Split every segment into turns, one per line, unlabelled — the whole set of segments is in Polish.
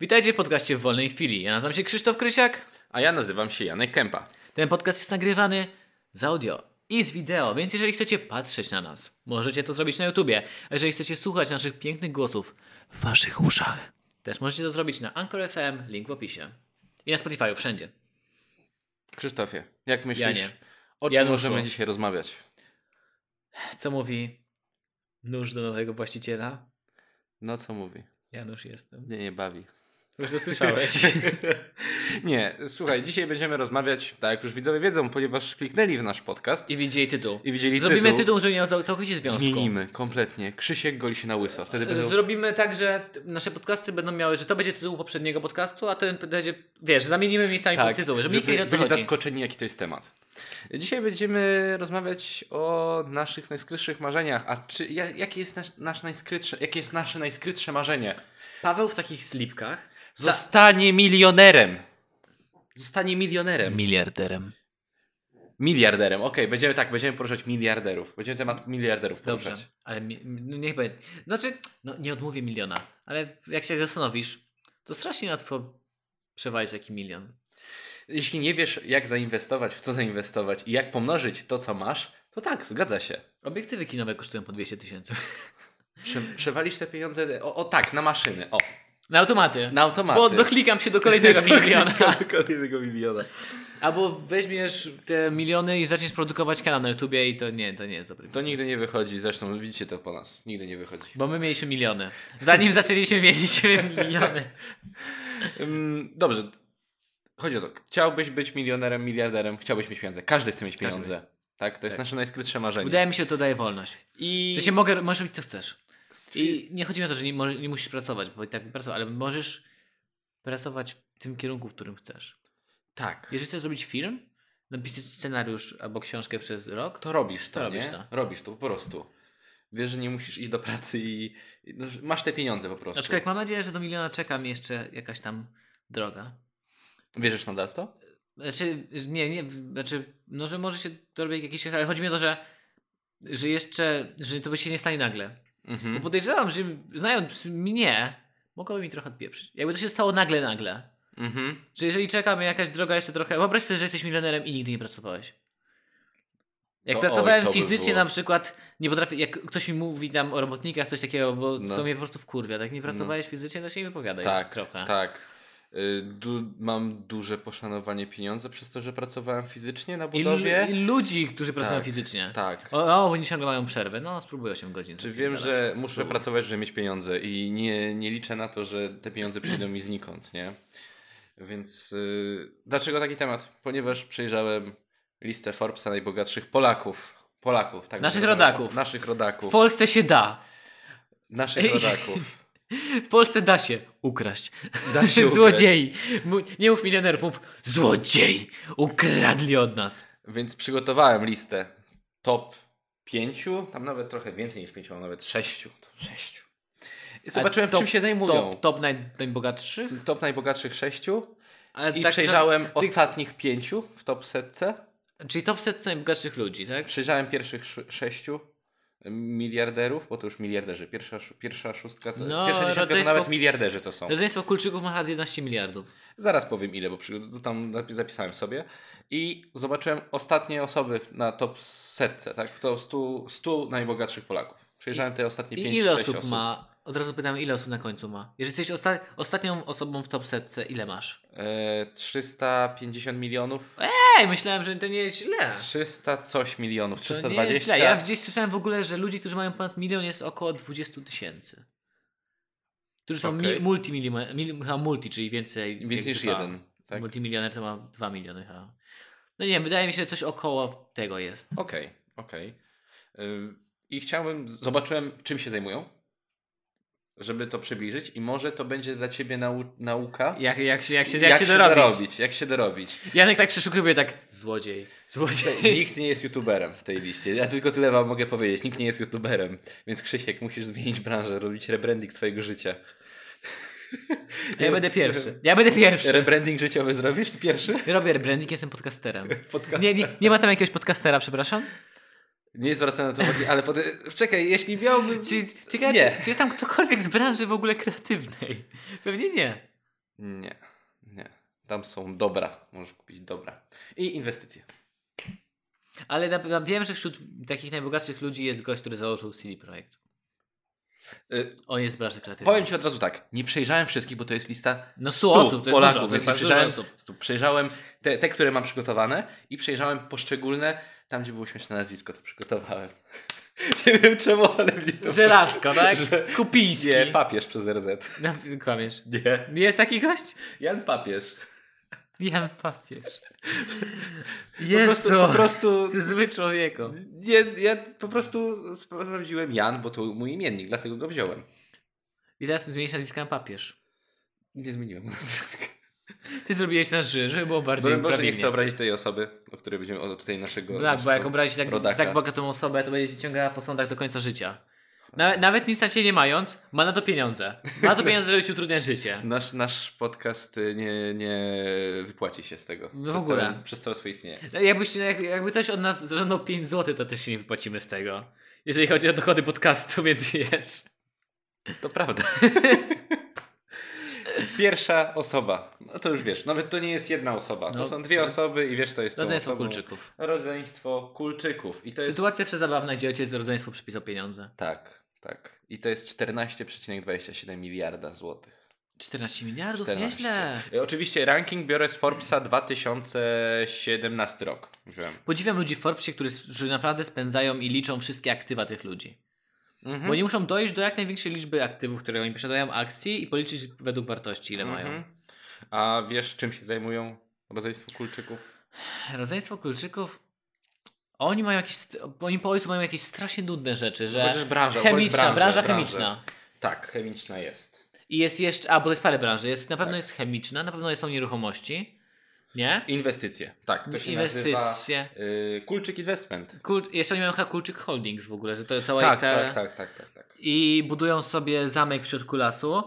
Witajcie w podcaście w wolnej chwili. Ja nazywam się Krzysztof Krysiak.
A ja nazywam się Janek Kępa.
Ten podcast jest nagrywany z audio i z wideo, więc jeżeli chcecie patrzeć na nas, możecie to zrobić na YouTubie. A jeżeli chcecie słuchać naszych pięknych głosów w waszych uszach, też możecie to zrobić na Anchor FM, link w opisie. I na Spotify, wszędzie.
Krzysztofie, jak myślisz,
Janie.
o czym
Januszu.
możemy dzisiaj rozmawiać?
Co mówi nóż do nowego właściciela?
No co mówi?
Janusz jestem.
Mnie nie bawi.
Już to słyszałeś.
nie, słuchaj, dzisiaj będziemy rozmawiać, tak jak już widzowie wiedzą, ponieważ kliknęli w nasz podcast i,
I widzieli tytuł.
widzieli
Zrobimy tytuł,
tytuł.
żeby nie miał całkowicie związku.
Zmienimy kompletnie. Krzysiek goli się na łyso. Wtedy będą...
Zrobimy tak, że t- nasze podcasty będą miały, że to będzie tytuł poprzedniego podcastu, a ten będzie, wiesz, zamienimy miejscami
tak,
tytuły, żeby nikt nie wiedział, co
byli
chodzi.
zaskoczeni, jaki to jest temat. Dzisiaj będziemy rozmawiać o naszych najskrytszych marzeniach. A czy, ja- jakie jest nasz, nasz najskrytsze, jakie jest nasze najskrytsze marzenie?
Paweł w takich slipkach
Zostanie milionerem. Zostanie milionerem.
miliarderem.
Miliarderem. Okej, będziemy tak, będziemy poruszać miliarderów. Będziemy temat miliarderów poruszać.
Dobrze, ale mi, no niech będzie. Znaczy, no nie odmówię miliona, ale jak się zastanowisz, to strasznie łatwo przewalić taki milion.
Jeśli nie wiesz, jak zainwestować, w co zainwestować i jak pomnożyć to, co masz, to tak, zgadza się.
Obiektywy kinowe kosztują po 200 tysięcy.
Prze przewalisz te pieniądze, o, o tak, na maszyny, o,
Na automaty.
na automaty.
Bo doklikam się do kolejnego miliona.
Do kolejnego miliona.
Albo weźmiesz te miliony i zaczniesz produkować kanał na YouTubie i to nie, to nie jest dobry
To
biznes.
nigdy nie wychodzi, zresztą widzicie to po nas. Nigdy nie wychodzi.
Bo my mieliśmy miliony. Zanim zaczęliśmy, mieliśmy miliony.
Ym, dobrze. Chodzi o to. Chciałbyś być milionerem, miliarderem, chciałbyś mieć pieniądze. Każdy chce mieć
Każdy.
pieniądze. Tak? To jest nasze najskrytsze marzenie.
Wydaje mi się, że to daje wolność.
I...
W sensie mogę, możesz robić co chcesz. I nie chodzi mi o to, że nie, może- nie musisz pracować, bo i tak pracować, ale możesz pracować w tym kierunku, w którym chcesz.
Tak.
Jeżeli chcesz zrobić film, napisać scenariusz albo książkę przez rok, to
To robisz to,
To
nie?
robisz to.
Robisz to po prostu. Wiesz, że nie musisz iść do pracy i i no, że masz te pieniądze po prostu.
aczkolwiek mam nadzieję, że do miliona czeka mi jeszcze jakaś tam droga.
Wierzysz nadal w to?
Znaczy, że nie, nie, w- znaczy, no, że może się dorobić jakiś ale chodzi mi o to, że, że jeszcze, że to by się nie stanie nagle. Bo
Mhm.
podejrzewam, że znając mnie, mogłoby mi trochę odpieprzyć. Jakby to się stało nagle, nagle.
Mhm.
Że jeżeli czekamy jakaś droga jeszcze trochę... Wyobraź sobie, że jesteś milionerem i nigdy nie pracowałeś. Jak
To oj,
pracowałem
to by
fizycznie
było.
na przykład, nie potrafię, jak ktoś mi mówi tam o robotnikach, coś takiego, bo
No.
to mnie po prostu wkurwia. Tak nie pracowałeś fizycznie, to się nie wypowiadaj.
Tak,
kropka.
tak. Y, Du- mam duże poszanowanie pieniądza przez to, że pracowałem fizycznie na
I, lu-
budowie.
I ludzi, którzy pracują
Tak,
fizycznie.
Tak.
O, o, oni ciągle mają przerwę. No, spróbuję 8 godzin.
Czy wiem, że muszę pracować, żeby mieć pieniądze i nie, nie liczę na to, że te pieniądze przyjdą mi znikąd, nie? Więc y, dlaczego taki temat? Ponieważ przejrzałem listę Forbesa najbogatszych Polaków. Polaków, tak.
Naszych
bym powiedział.
rodaków.
Naszych rodaków.
W Polsce się da.
Naszych rodaków.
W Polsce da się ukraść.
Da się
Złodziei. Mu- Nie mów milionerów, mów złodziei. Ukradli od nas.
Więc przygotowałem listę top pięciu, tam nawet trochę więcej niż pięciu, a nawet sześciu. To sześciu. I zobaczyłem,
A top-
czym się zajmują.
Top,
Top,
top naj, najbogatszych.
najbogatszych sześciu.
Ale
I
tak-
przejrzałem
tych-
ostatnich pięciu w top setce.
Czyli top set najbogatszych ludzi, tak?
Przyjrzałem pierwszych sz- sześciu miliarderów, bo to już miliarderzy. Pierwsza, sz- pierwsza szóstka, to,
No,
pierwsza dziesiątka
rodzeństwo-
to nawet miliarderzy to są.
Rodzeństwo Kulczyków ma chyba z 11 miliardów.
Zaraz powiem ile, bo przy, tam zapi- zapisałem sobie. I zobaczyłem ostatnie osoby w- na top setce, tak? W top 100, 100 najbogatszych Polaków. Przejrzałem te ostatnie
I
5
ile osób,
osób.
ma? Od razu pytam, ile osób na końcu ma? Jeżeli jesteś osta- ostatnią osobą w top setce, ile masz?
E, 350 milionów.
Ej, myślałem, że to nie jest źle.
300 coś milionów,
To nie jest
320.
źle. Ja gdzieś słyszałem w ogóle, że ludzi, którzy mają ponad milion jest około 20 tysięcy. Którzy są
Okej.
mi, multi, mil, chyba multi, czyli więcej. jak
Więcej niż
dwa.
jeden. Tak? Okej,
Multimilioner to ma 2 miliony chyba. No nie wiem, wydaje mi się, że coś około tego jest.
okej. Y, I chciałbym, z- zobaczyłem czym się zajmują, żeby to przybliżyć i może to będzie dla Ciebie nau- nauka,
Jak, jak, się, jak, się,
jak się
dorobić?
dorobić. Jak się dorobić.
Janek tak przeszukuje, tak złodziej, złodziej.
Nikt nie jest youtuberem w tej liście. Ja tylko tyle wam mogę powiedzieć. Nikt nie jest youtuberem. Więc Krzysiek, musisz zmienić branżę, robić rebranding swojego życia.
Ja będę pierwszy. Ja będę pierwszy.
Rebranding życiowy zrobisz pierwszy?
Robię rebranding, jestem podcasterem.
Podcast.
Nie, nie, nie ma tam jakiegoś podcastera, przepraszam?
Nie zwracam na to uwagi, ale pod... czekaj, jeśli miałbym...
Czy, ciekawe,
Nie.
czy, czy jest tam ktokolwiek z branży w ogóle kreatywnej? Pewnie nie.
Nie, nie. Tam są dobra. Możesz kupić dobra. I inwestycje.
Ale na, na, wiem, że wśród takich najbogatszych ludzi jest gość, który założył CD Projekt.
Y,
On jest w branży kreatywnej.
Powiem Ci od razu tak, nie przejrzałem wszystkich, bo to jest lista
No
100
stu osób, to jest
Polaków,
dużo, to
więc
jest
nie
bardzo dużo
przejrzałem,
osób.
stu- przejrzałem te, te, które mam przygotowane i przejrzałem poszczególne, tam gdzie było śmieszne nazwisko, to przygotowałem. nie wiem czemu, ale mnie to...
Żelazko, tak?
Że-
Kupiński.
Nie, papież przez RZ.
No, Kłamiesz.
Nie.
Jest taki gość?
Jan Papież.
Jan Papież.
Po
Jest
prostu, po prostu...
Ty zły człowieku.
Nie, ja po prostu sprawdziłem Jan, bo to mój imiennik, dlatego go wziąłem.
I teraz zmienisz nazwisko na papież.
Nie zmieniłem.
Ty zrobiłeś na ży, żeby było bardziej
Broń Boże, nie
prawidłnie.
chcę obrazić tej osoby, o której będziemy, o tutaj naszego...
Tak, bo
naszego
jak obrazić tak,
rodaka.
tak bogatą osobę, to będzie cię ciągała po sądach do końca życia. Na, nawet nic na ciebie nie mając, ma na to pieniądze. Ma na to pieniądze, żeby ci utrudniać życie.
Nasz, nasz podcast y, nie, nie wypłaci się z tego.
No w ogóle.
Całe, przez całe swoje istnienie.
No, Jakbyś, no, jak, jakby ktoś od nas zażądał 5 zł, to też się nie wypłacimy z tego. Jeżeli chodzi o dochody podcastu, więc wiesz.
To prawda. Pierwsza osoba. No to już wiesz, nawet to nie jest jedna osoba.
No,
to są dwie
to jest-
osoby i wiesz, to jest tą
Rodzeństwo
osobą.
kulczyków.
Rodzeństwo kulczyków. I to jest...
Sytuacja przezabawna, gdzie ojciec rodzeństwu przepisał pieniądze.
Tak, tak. I to jest 14,27 miliarda złotych.
14 miliardów?
14.
Nieźle.
Y, Oczywiście ranking biorę z Forbesa 2017 rok. Wziąłem.
Podziwiam ludzi w Forbesie, którzy naprawdę spędzają i liczą wszystkie aktywa tych ludzi.
Mhm.
Bo oni muszą dojść do jak największej liczby aktywów, które oni posiadają, akcji i policzyć według wartości, ile mają.
Mhm. A wiesz, czym się zajmują rodzeństwo kulczyków?
Rodzeństwo Kulczyków, oni mają jakieś, oni po ojcu mają jakieś strasznie nudne rzeczy, że
Chociaż branża, bo jest
chemiczna,
branża,
branża
branża.
chemiczna.
Tak, chemiczna jest.
I jest jeszcze, a bo to jest parę branży, jest, na pewno
Tak.
jest chemiczna, na pewno są nieruchomości, nie?
Inwestycje, tak. To się nazywa
Inwestycje.
y, kulczyk investment.
Kult, jeszcze oni mają chyba Kulczyk Holdings w ogóle, że to cała
Tak,
ich ta...
tak, tak, tak, tak, tak.
I budują sobie zamek w środku lasu.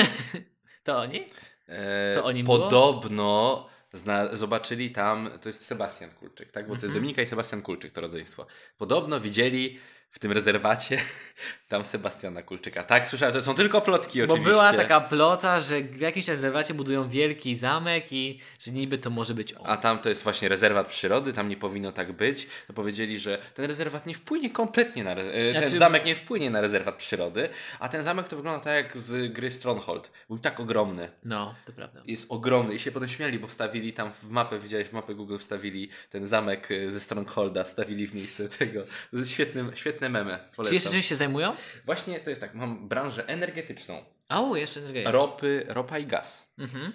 to oni?
E,
To o nim
podobno zna, zobaczyli tam, to jest Sebastian Kulczyk, tak? Bo to
Mhm.
jest Dominika i Sebastian Kulczyk, to rodzeństwo. Podobno widzieli w tym rezerwacie tam Sebastiana Kulczyka. Tak, słyszałem, to są tylko plotki
Bo
oczywiście.
była taka plota, że w jakimś rezerwacie budują wielki zamek i że niby to może być on.
A tam to jest właśnie rezerwat przyrody, tam nie powinno tak być. To powiedzieli, że ten rezerwat nie wpłynie kompletnie na. Re- e, ten
Znaczy-
zamek nie wpłynie na rezerwat przyrody, a ten zamek to wygląda tak jak z gry Stronghold. Był tak ogromny.
No, to prawda.
Jest ogromny i się potem śmiali, bo wstawili tam w mapę, widziałeś w mapę Google, wstawili ten zamek e, ze Strongholda, wstawili w miejsce tego. To jest świetny, świetne meme.
Czy jeszcze
Polecam.
czymś się zajmują?
Właśnie to jest tak, mam branżę energetyczną,
Au, jeszcze energetyka.
ropy, ropa i gaz.
Mhm.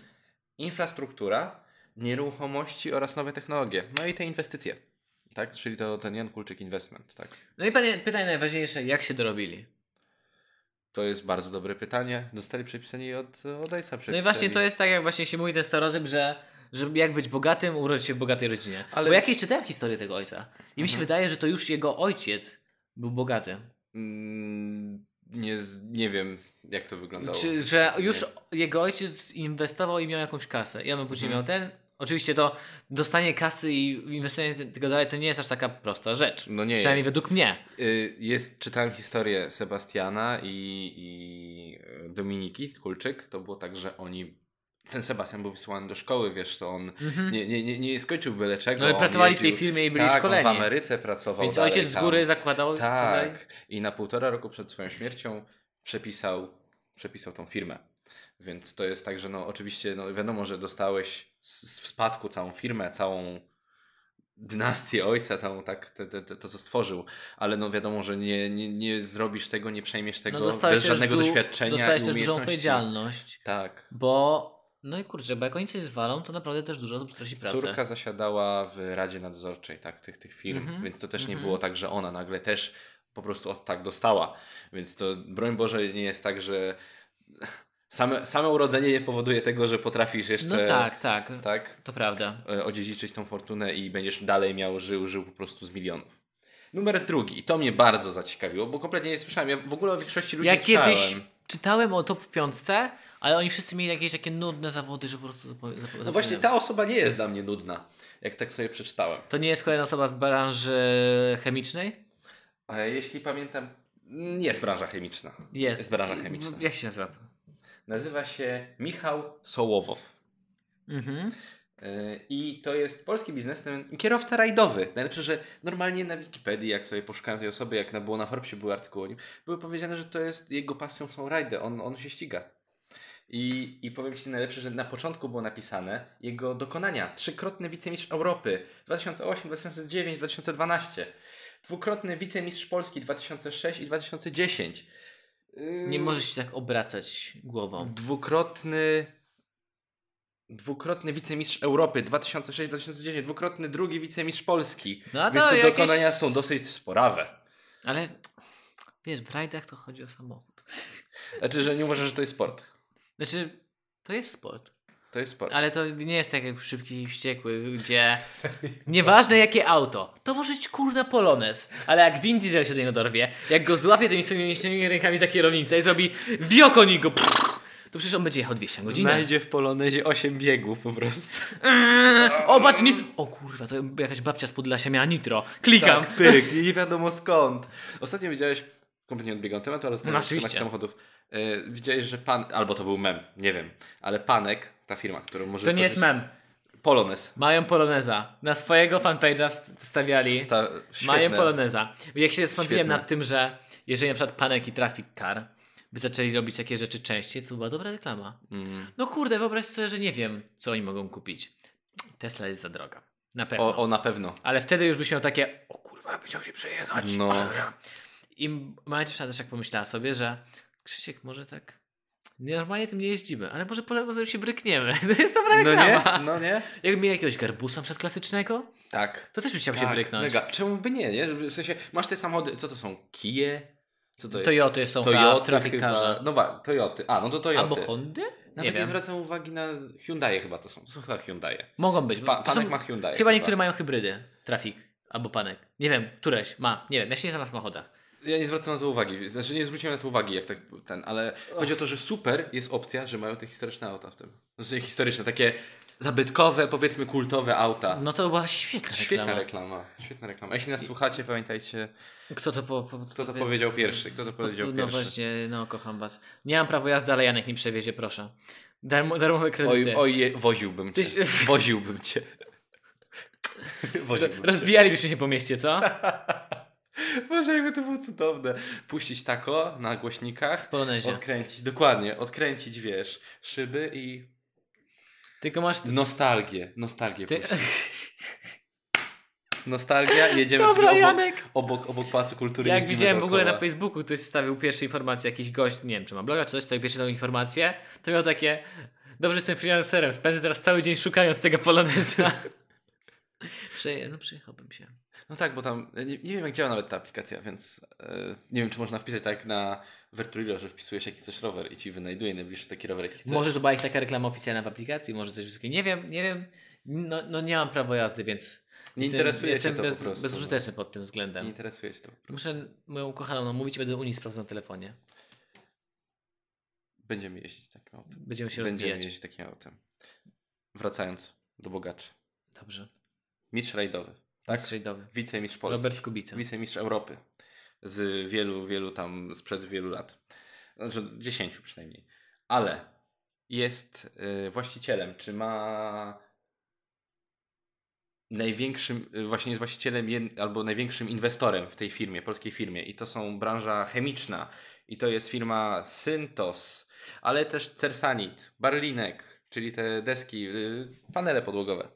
infrastruktura, nieruchomości oraz nowe technologie. No i te inwestycje. Tak? Czyli to ten Jan Kulczyk Investment, tak?
No i pytanie, pytanie najważniejsze, jak się dorobili?
To jest bardzo dobre pytanie. Dostali przepisanie od, od ojca
No
przepisani.
i właśnie to jest tak, jak właśnie się mówi ten stereotyp, że żeby jak być bogatym, urodzić się w bogatej rodzinie.
Ale- Mhm.
Bo ja kiedyś czytałem historię tego ojca i mi się wydaje, że to już jego ojciec był bogaty.
Mm, nie, z- nie wiem, jak to wyglądało.
Czy, że już jego ojciec inwestował i miał jakąś kasę. Ja bym później
Mhm.
miał ten. Oczywiście to dostanie kasy i inwestowanie te- tego dalej to nie jest aż taka prosta rzecz.
No nie
Przynajmniej
jest.
według mnie.
Y, jest. Czytałem historię Sebastiana i, i e, Dominiki Kulczyk. To było tak, że oni... Ten Sebastian był wysyłany do szkoły, wiesz, to on nie, nie, nie, nie skończył byle czego.
Mhm. No i
on
pracowali w tej
jeździł-
firmie i byli
tak, on w
szkoleni.
Ameryce pracował
Więc
dalej
ojciec z
tam.
góry zakładał tutaj.
Tak. I na półtora roku przed swoją śmiercią przepisał, przepisał tą firmę. Więc to jest tak, że no oczywiście no wiadomo, że dostałeś z- w spadku całą firmę, całą dynastię ojca, całą tak, te, te, te, to co stworzył, ale no wiadomo, że nie, nie, nie zrobisz tego, nie przejmiesz tego
No, dostałeś
bez
też
żadnego
du-
doświadczenia
Dostałeś
i
też dużą
umiejętności.
odpowiedzialność,
Tak.
bo no i kurczę, bo jak oni coś zwalą, to naprawdę też dużo osób traci pracę.
Córka zasiadała w Radzie Nadzorczej tak, tych, tych firm,
Mhm.
więc to też nie
Mhm.
było tak, że ona nagle też po prostu od tak dostała. Więc to broń Boże nie jest tak, że same, same urodzenie nie powoduje tego, że potrafisz
No
jeszcze
tak, tak,
tak
to prawda.
e, odziedziczyć tą fortunę i będziesz dalej miał, żył, żył po prostu z milionów. Numer drugi. I to mnie bardzo zaciekawiło, bo kompletnie nie słyszałem. Ja w ogóle o większości ludzi
ja
nie słyszałem.
kiedyś czytałem o top 5, ale oni wszyscy mieli jakieś takie nudne zawody, że po prostu zapo- zapo-
No
zapomniałem.
właśnie ta osoba nie jest dla mnie nudna, jak tak sobie przeczytałem.
To nie jest kolejna osoba z branży chemicznej?
A jeśli pamiętam, nie jest branża chemiczna.
Jest. No
Jest branża chemiczna.
Jak się nazywa?
Nazywa się Michał Sołowow.
Mhm.
Yy, I to jest polski biznesmen, i kierowca rajdowy. Najlepsze, że normalnie na Wikipedii, jak sobie poszukałem tej osoby, jak na, było na Forbsie były artykuły o nim, były powiedziane, że to jest, jego pasją są rajdy, on, on się ściga. I, I powiem Ci najlepsze, że na początku było napisane jego dokonania. Trzykrotny wicemistrz Europy 2008, 2009, 2012. Dwukrotny wicemistrz Polski 2006 i 2010. Yy,
Nie możesz się tak obracać głową.
Dwukrotny. Dwukrotny wicemistrz Europy 2006-2010, dwukrotny drugi wicemistrz Polski.
No a
Więc
to
te
jakieś...
dokonania są dosyć sporawe.
Ale wiesz, w rajdach to chodzi o samochód.
Znaczy, że nie uważasz, że to jest sport.
Znaczy, to jest sport.
To jest sport.
Ale to nie jest tak jak szybki i wściekły, gdzie nieważne jakie auto, to może być kurna Polones, ale jak Vin Diesel się do niego dorwie, jak go złapie tymi swoimi mięśnionymi rękami za kierownicę i zrobi wiokoń i go pff, to przecież on będzie jechał 200 na godzinę.
Znajdzie w Polonezie 8 biegów po prostu.
Eee, O, patrz, nie... O kurwa, to jakaś babcia z Podlasia miała nitro. Klikam.
Tak, pyk, i nie wiadomo skąd. Ostatnio widziałeś, kompletnie odbiegam temat, ale
No
zostałem w temacie
oczywiście.
samochodów. E, widziałeś, że pan, albo to był mem, nie wiem, ale Panek, ta firma, którą może...
To nie jest mem.
Polones.
Mają Poloneza. Na swojego fanpage'a wst- wstawiali.
Sta-
Mają
świetne.
poloneza. Jak się zastanowiłem
Świetne.
nad tym, że jeżeli na przykład Panek i Traffic Car by zaczęli robić takie rzeczy częściej, to była dobra reklama.
Mm.
No kurde, wyobraź sobie, że nie wiem, co oni mogą kupić. Tesla jest za droga. Na pewno.
O, o, na pewno.
Ale wtedy już byś miał takie, o kurwa, ja bym chciał się przejechać.
No.
I moja dziewczyna też tak pomyślała sobie, że Krzysiek, może tak... Normalnie tym nie jeździmy, ale może polonezem się brykniemy. To jest dobra
No nie?
reklama.
No nie?
Jak mieli jakiegoś garbusa przedklasycznego,
Tak.
to też by chciał się
tak,
bryknąć.
Mega. Czemu by nie, nie? W sensie, masz te samochody, co to są? Kije? Co to jest?
Toyoty są Toyoty,
Toyoty
trafikarze.
chyba. No wa, Toyoty. A, no to Toyoty.
Albo Hondy?
Nawet nie,
wiem.
zwracam uwagi na Hyundai chyba to są. To są chyba Hyundai.
Mogą być.
Pa,
to
panek
są-
ma Hyundai.
chyba niektóre mają hybrydy. Trafik albo panek. Nie wiem, któreś ma. Nie wiem, ja się nie znam na samochodach.
Ja nie zwracam na to uwagi. Znaczy nie zwróciłem na to uwagi, jak tak ten, ale chodzi o to, że super jest opcja, że mają te historyczne auta w tym. Znaczy historyczne, takie zabytkowe, powiedzmy kultowe auta.
No to była świetna,
Świetna
reklama.
reklama. Świetna reklama. Jeśli nas słuchacie, pamiętajcie,
Kto to, po, po,
kto to powiedział pierwszy. Kto to powiedział
no
pierwszy.
właśnie, no kocham was. Nie mam prawa jazdy, ale Janek mi przewiezie, proszę. Darmo, darmowe
Oj,
kredyty.
oj, woziłbym cię.
Tyś-
Woziłbym cię. Woziłbym cię.
Rozbijalibyśmy się po mieście, co?
Boże, jakby to było cudowne. Puścić tako na głośnikach,
W Polonezie.
odkręcić, dokładnie, odkręcić, wiesz, szyby i
Tylko masz...
nostalgię, nostalgię
Ty...
puścić. Nostalgia, jedziemy
Dobra,
sobie obok,
Janek.
obok, obok Pałacu Kultury.
Jak
jeździmy
widziałem w ogóle na
dookoła.
Facebooku, ktoś stawił pierwsze informacje, jakiś gość, nie wiem czy ma bloga czy coś, stawił pierwsze tą informację, to miał takie, dobrze że jestem freelancerem, spędzę teraz cały dzień szukając tego poloneza. Przeje, no przyjechałbym się.
No tak, bo tam, nie, nie wiem jak działa nawet ta aplikacja, więc e, nie wiem czy można wpisać tak na Vertulilo, że wpisujesz jaki chcesz rower i ci wynajduje najbliższy taki rower jaki chcesz.
Może to była ich taka reklama oficjalna w aplikacji, może coś wysokiego, nie wiem, nie wiem, no, no nie mam prawa jazdy, więc
nie
jestem-
interesuje
jestem
cię to
bez,
po prostu. no.
bezużyteczny pod tym
Nie
względem.
interesuje cię to.
Muszę moją ukochaną namówić i będę u niej sprawdzał na telefonie.
Będziemy jeździć takim autem.
Będziemy się
Będziemy
rozbijać.
jeździć takim autem. Wracając do bogaczy.
Dobrze.
Mistrz rajdowy,
Tak?
tak?
Strzeldowy.
Wicemistrz Polski.
Robert Kubica.
Wicemistrz Europy. Z wielu, wielu tam, sprzed wielu lat. Znaczy dziesięciu przynajmniej. Ale jest y, właścicielem, czy ma największym, y, właśnie jest właścicielem jed, albo największym inwestorem w tej firmie, polskiej firmie. I to są branża chemiczna. I to jest firma Syntos, ale też Cersanit, Barlinek, czyli te deski, y, panele podłogowe.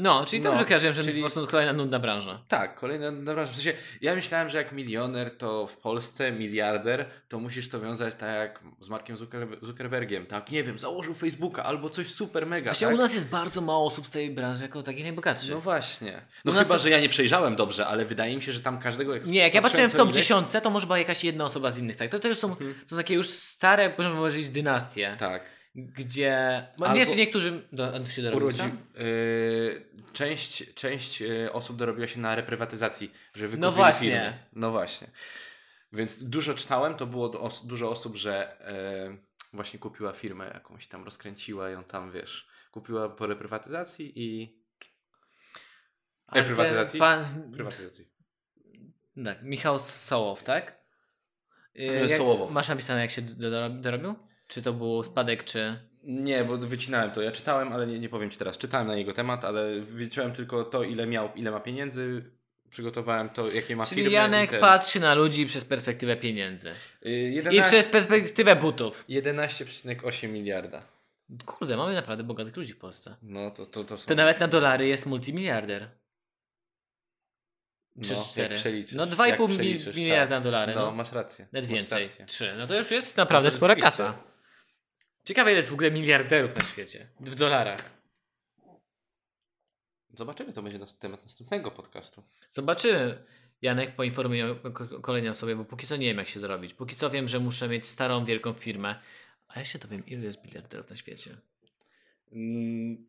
No, czyli
No,
dobrze kojarzyłem, że
czyli-
po prostu kolejna nudna branża.
Tak, kolejna dobra. W sensie, ja myślałem, że jak milioner to w Polsce miliarder, to musisz to wiązać tak jak z Markiem Zucker- Zuckerbergiem. Tak, nie wiem, założył Facebooka albo coś super mega.
Właśnie
Tak?
u nas jest bardzo mało osób z tej branży jako takich najbogatszych.
No właśnie. No
U nas
chyba,
jest-
że ja nie przejrzałem dobrze, ale wydaje mi się, że tam każdego. Jak
nie, jak ja patrzyłem w
co
top
innego-
dziesiątce, to może była jakaś jedna osoba z innych, tak? To, to już są, to są takie już stare, możemy powiedzieć, dynastie,
Mhm. Tak.
gdzie... Albo...
Albo-
Jeszcze niektórzy do, do się tak? dorobili,
Urodzi... e,
co?
Yy, część część yy, osób dorobiła się na reprywatyzacji, że wykupili
No właśnie.
firmy. No właśnie. Więc dużo czytałem, to było do os- dużo osób, że yy, właśnie kupiła firmę jakąś tam, rozkręciła ją tam, wiesz, kupiła po reprywatyzacji i...
Ale
reprywatyzacji?
Pan...
Prywatyzacji.
Tak, Michał Sołow, tak? Y,
E, Sołowow.
Masz napisane, jak się do- do- dorobił? Czy to był spadek, czy...
Nie, bo wycinałem to. Ja czytałem, ale nie, nie powiem ci teraz. Czytałem na jego temat, ale wyliczyłem tylko to, ile miał, ile ma pieniędzy. Przygotowałem to, jakie ma
Czyli
firmy.
Janek
i ten.
patrzy na ludzi przez perspektywę pieniędzy.
Y,
I
11,
przez perspektywę butów.
11,8 miliarda.
Kurde, mamy naprawdę bogatych ludzi w Polsce.
No to, to, to są...
To nawet na dolary jest multimiliarder. Czy
no,
cztery.
Jak przeliczysz,
no
jak
2,5 mil-
przeliczysz,
miliarda dolarów.
No,
No,
masz rację.
Nawet
masz
więcej.
rację.
Trzy. No to już jest naprawdę
No to
spora
rzeczywiście.
kasa. Ciekawe ile jest w ogóle miliarderów na świecie. W dolarach.
Zobaczymy, to będzie nas- temat następnego podcastu.
Zobaczymy. Janek poinformuje o- o kolejnej osobie, bo póki co nie wiem jak się dorobić. Póki co wiem, że muszę mieć starą, wielką firmę. A ja się dowiem ilu jest miliarderów na świecie.
Mm,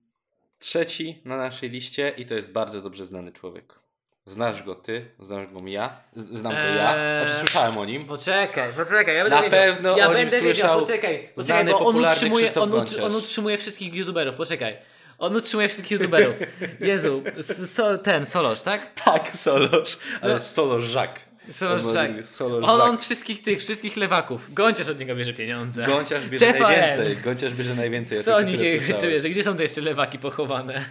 Trzeci na naszej liście i to jest bardzo dobrze znany człowiek. Znasz go ty, znasz go ja, z- znam go ja.
Eee.
Znaczy słyszałem o nim.
Poczekaj, poczekaj, ja będę
Na
wiedział.
pewno
ja
o nim
będę
słyszał
wiedział, poczekaj, poczekaj,
znany,
bo on
popularny
utrzymuje,
Krzysztof
on, ut,
Gąciarz.
on utrzymuje wszystkich youtuberów, poczekaj. On utrzymuje wszystkich youtuberów. Jezu, s- so, ten, Solosz, tak?
Tak, Solosz, ale
No.
Solożak.
Solosz
On ma
Żak.
drugi- Solosz
On, on
Żak.
wszystkich tych, wszystkich lewaków. Gąciarz od niego bierze pieniądze.
Gąciarz bierze
TVN.
najwięcej. Gąciarz bierze najwięcej. ja
Kto o
tylko
nich
tyle
jeszcze
słyszałem.
bierze? Gdzie są te jeszcze lewaki pochowane?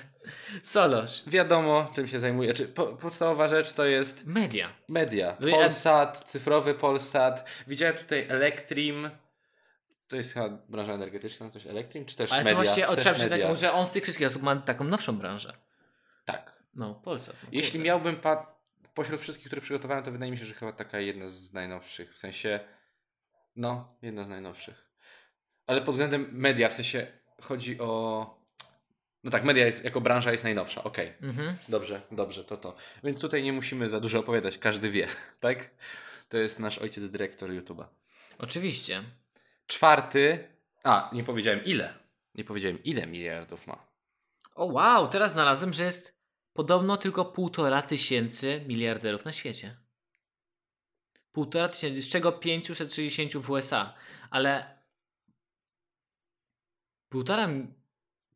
Solosz.
Wiadomo, czym się zajmuje. Czy po, podstawowa rzecz to jest
Media.
media.
No i-
Polsat, cyfrowy Polsat. Widziałem tutaj Elektrim. To jest chyba branża energetyczna, coś Elektrim, czy też
Ale
media.
to właśnie o,
czy
tak
też
trzeba przyznać
media.
mu, że on z tych wszystkich osób ma taką nowszą branżę.
Tak.
No, Polsat. No,
Jeśli
kurde.
miałbym pa... pośród wszystkich, które przygotowałem, to wydaje mi się, że chyba taka jedna z najnowszych. W sensie, no, jedna z najnowszych. Ale pod względem media, w sensie chodzi o... No tak, media jest, jako branża jest najnowsza, okej.
Mhm.
Dobrze, dobrze, to to. Więc tutaj nie musimy za dużo opowiadać, każdy wie, tak? To jest nasz ojciec dyrektor YouTube'a.
Oczywiście.
Czwarty. A, nie powiedziałem ile. Nie powiedziałem ile miliardów ma.
O wow, teraz znalazłem, że jest podobno tylko półtora tysięcy miliarderów na świecie. Półtora tysięcy, z czego 560 w USA, ale półtora m-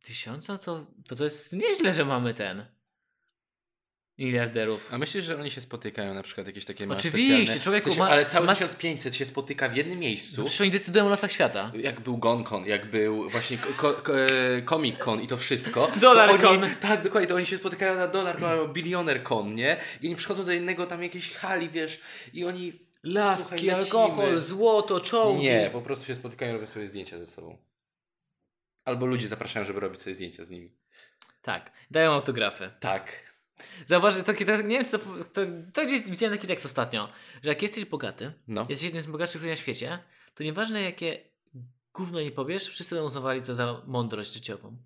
tysiąca to, to to jest nieźle, że mamy ten miliarderów.
A myślisz, że oni się spotykają na przykład jakieś takie małe
Oczywiście,
specjalne-
człowieku,
Coś-
ma-
ale cały
ma-
1500 się spotyka w jednym miejscu.
No Przecież oni decydują o losach świata.
Jak był GonCon, jak był właśnie ko- ko- e, Comic Con i to wszystko. to
Dollar
oni-
Con.
Tak, dokładnie, to oni się spotykają na Dollar Con albo Billioner Con, nie? I oni przychodzą do innego tam jakiejś hali, wiesz, i oni...
Laski,
Słuchaj, lecimy.
alkohol, złoto, czołgi.
Nie, po prostu się spotykają i robią sobie zdjęcia ze sobą. Albo ludzi zapraszają, żeby robić sobie zdjęcia z nimi.
Tak, dają autografy.
Tak.
Zauważ, to, to, nie wiem, czy to, to, to gdzieś widziałem taki tekst ostatnio, że jak jesteś bogaty,
No.
jesteś jednym z bogatszych ludzi na świecie, to nieważne jakie gówno nie powiesz, wszyscy będą uznawali to za mądrość życiową.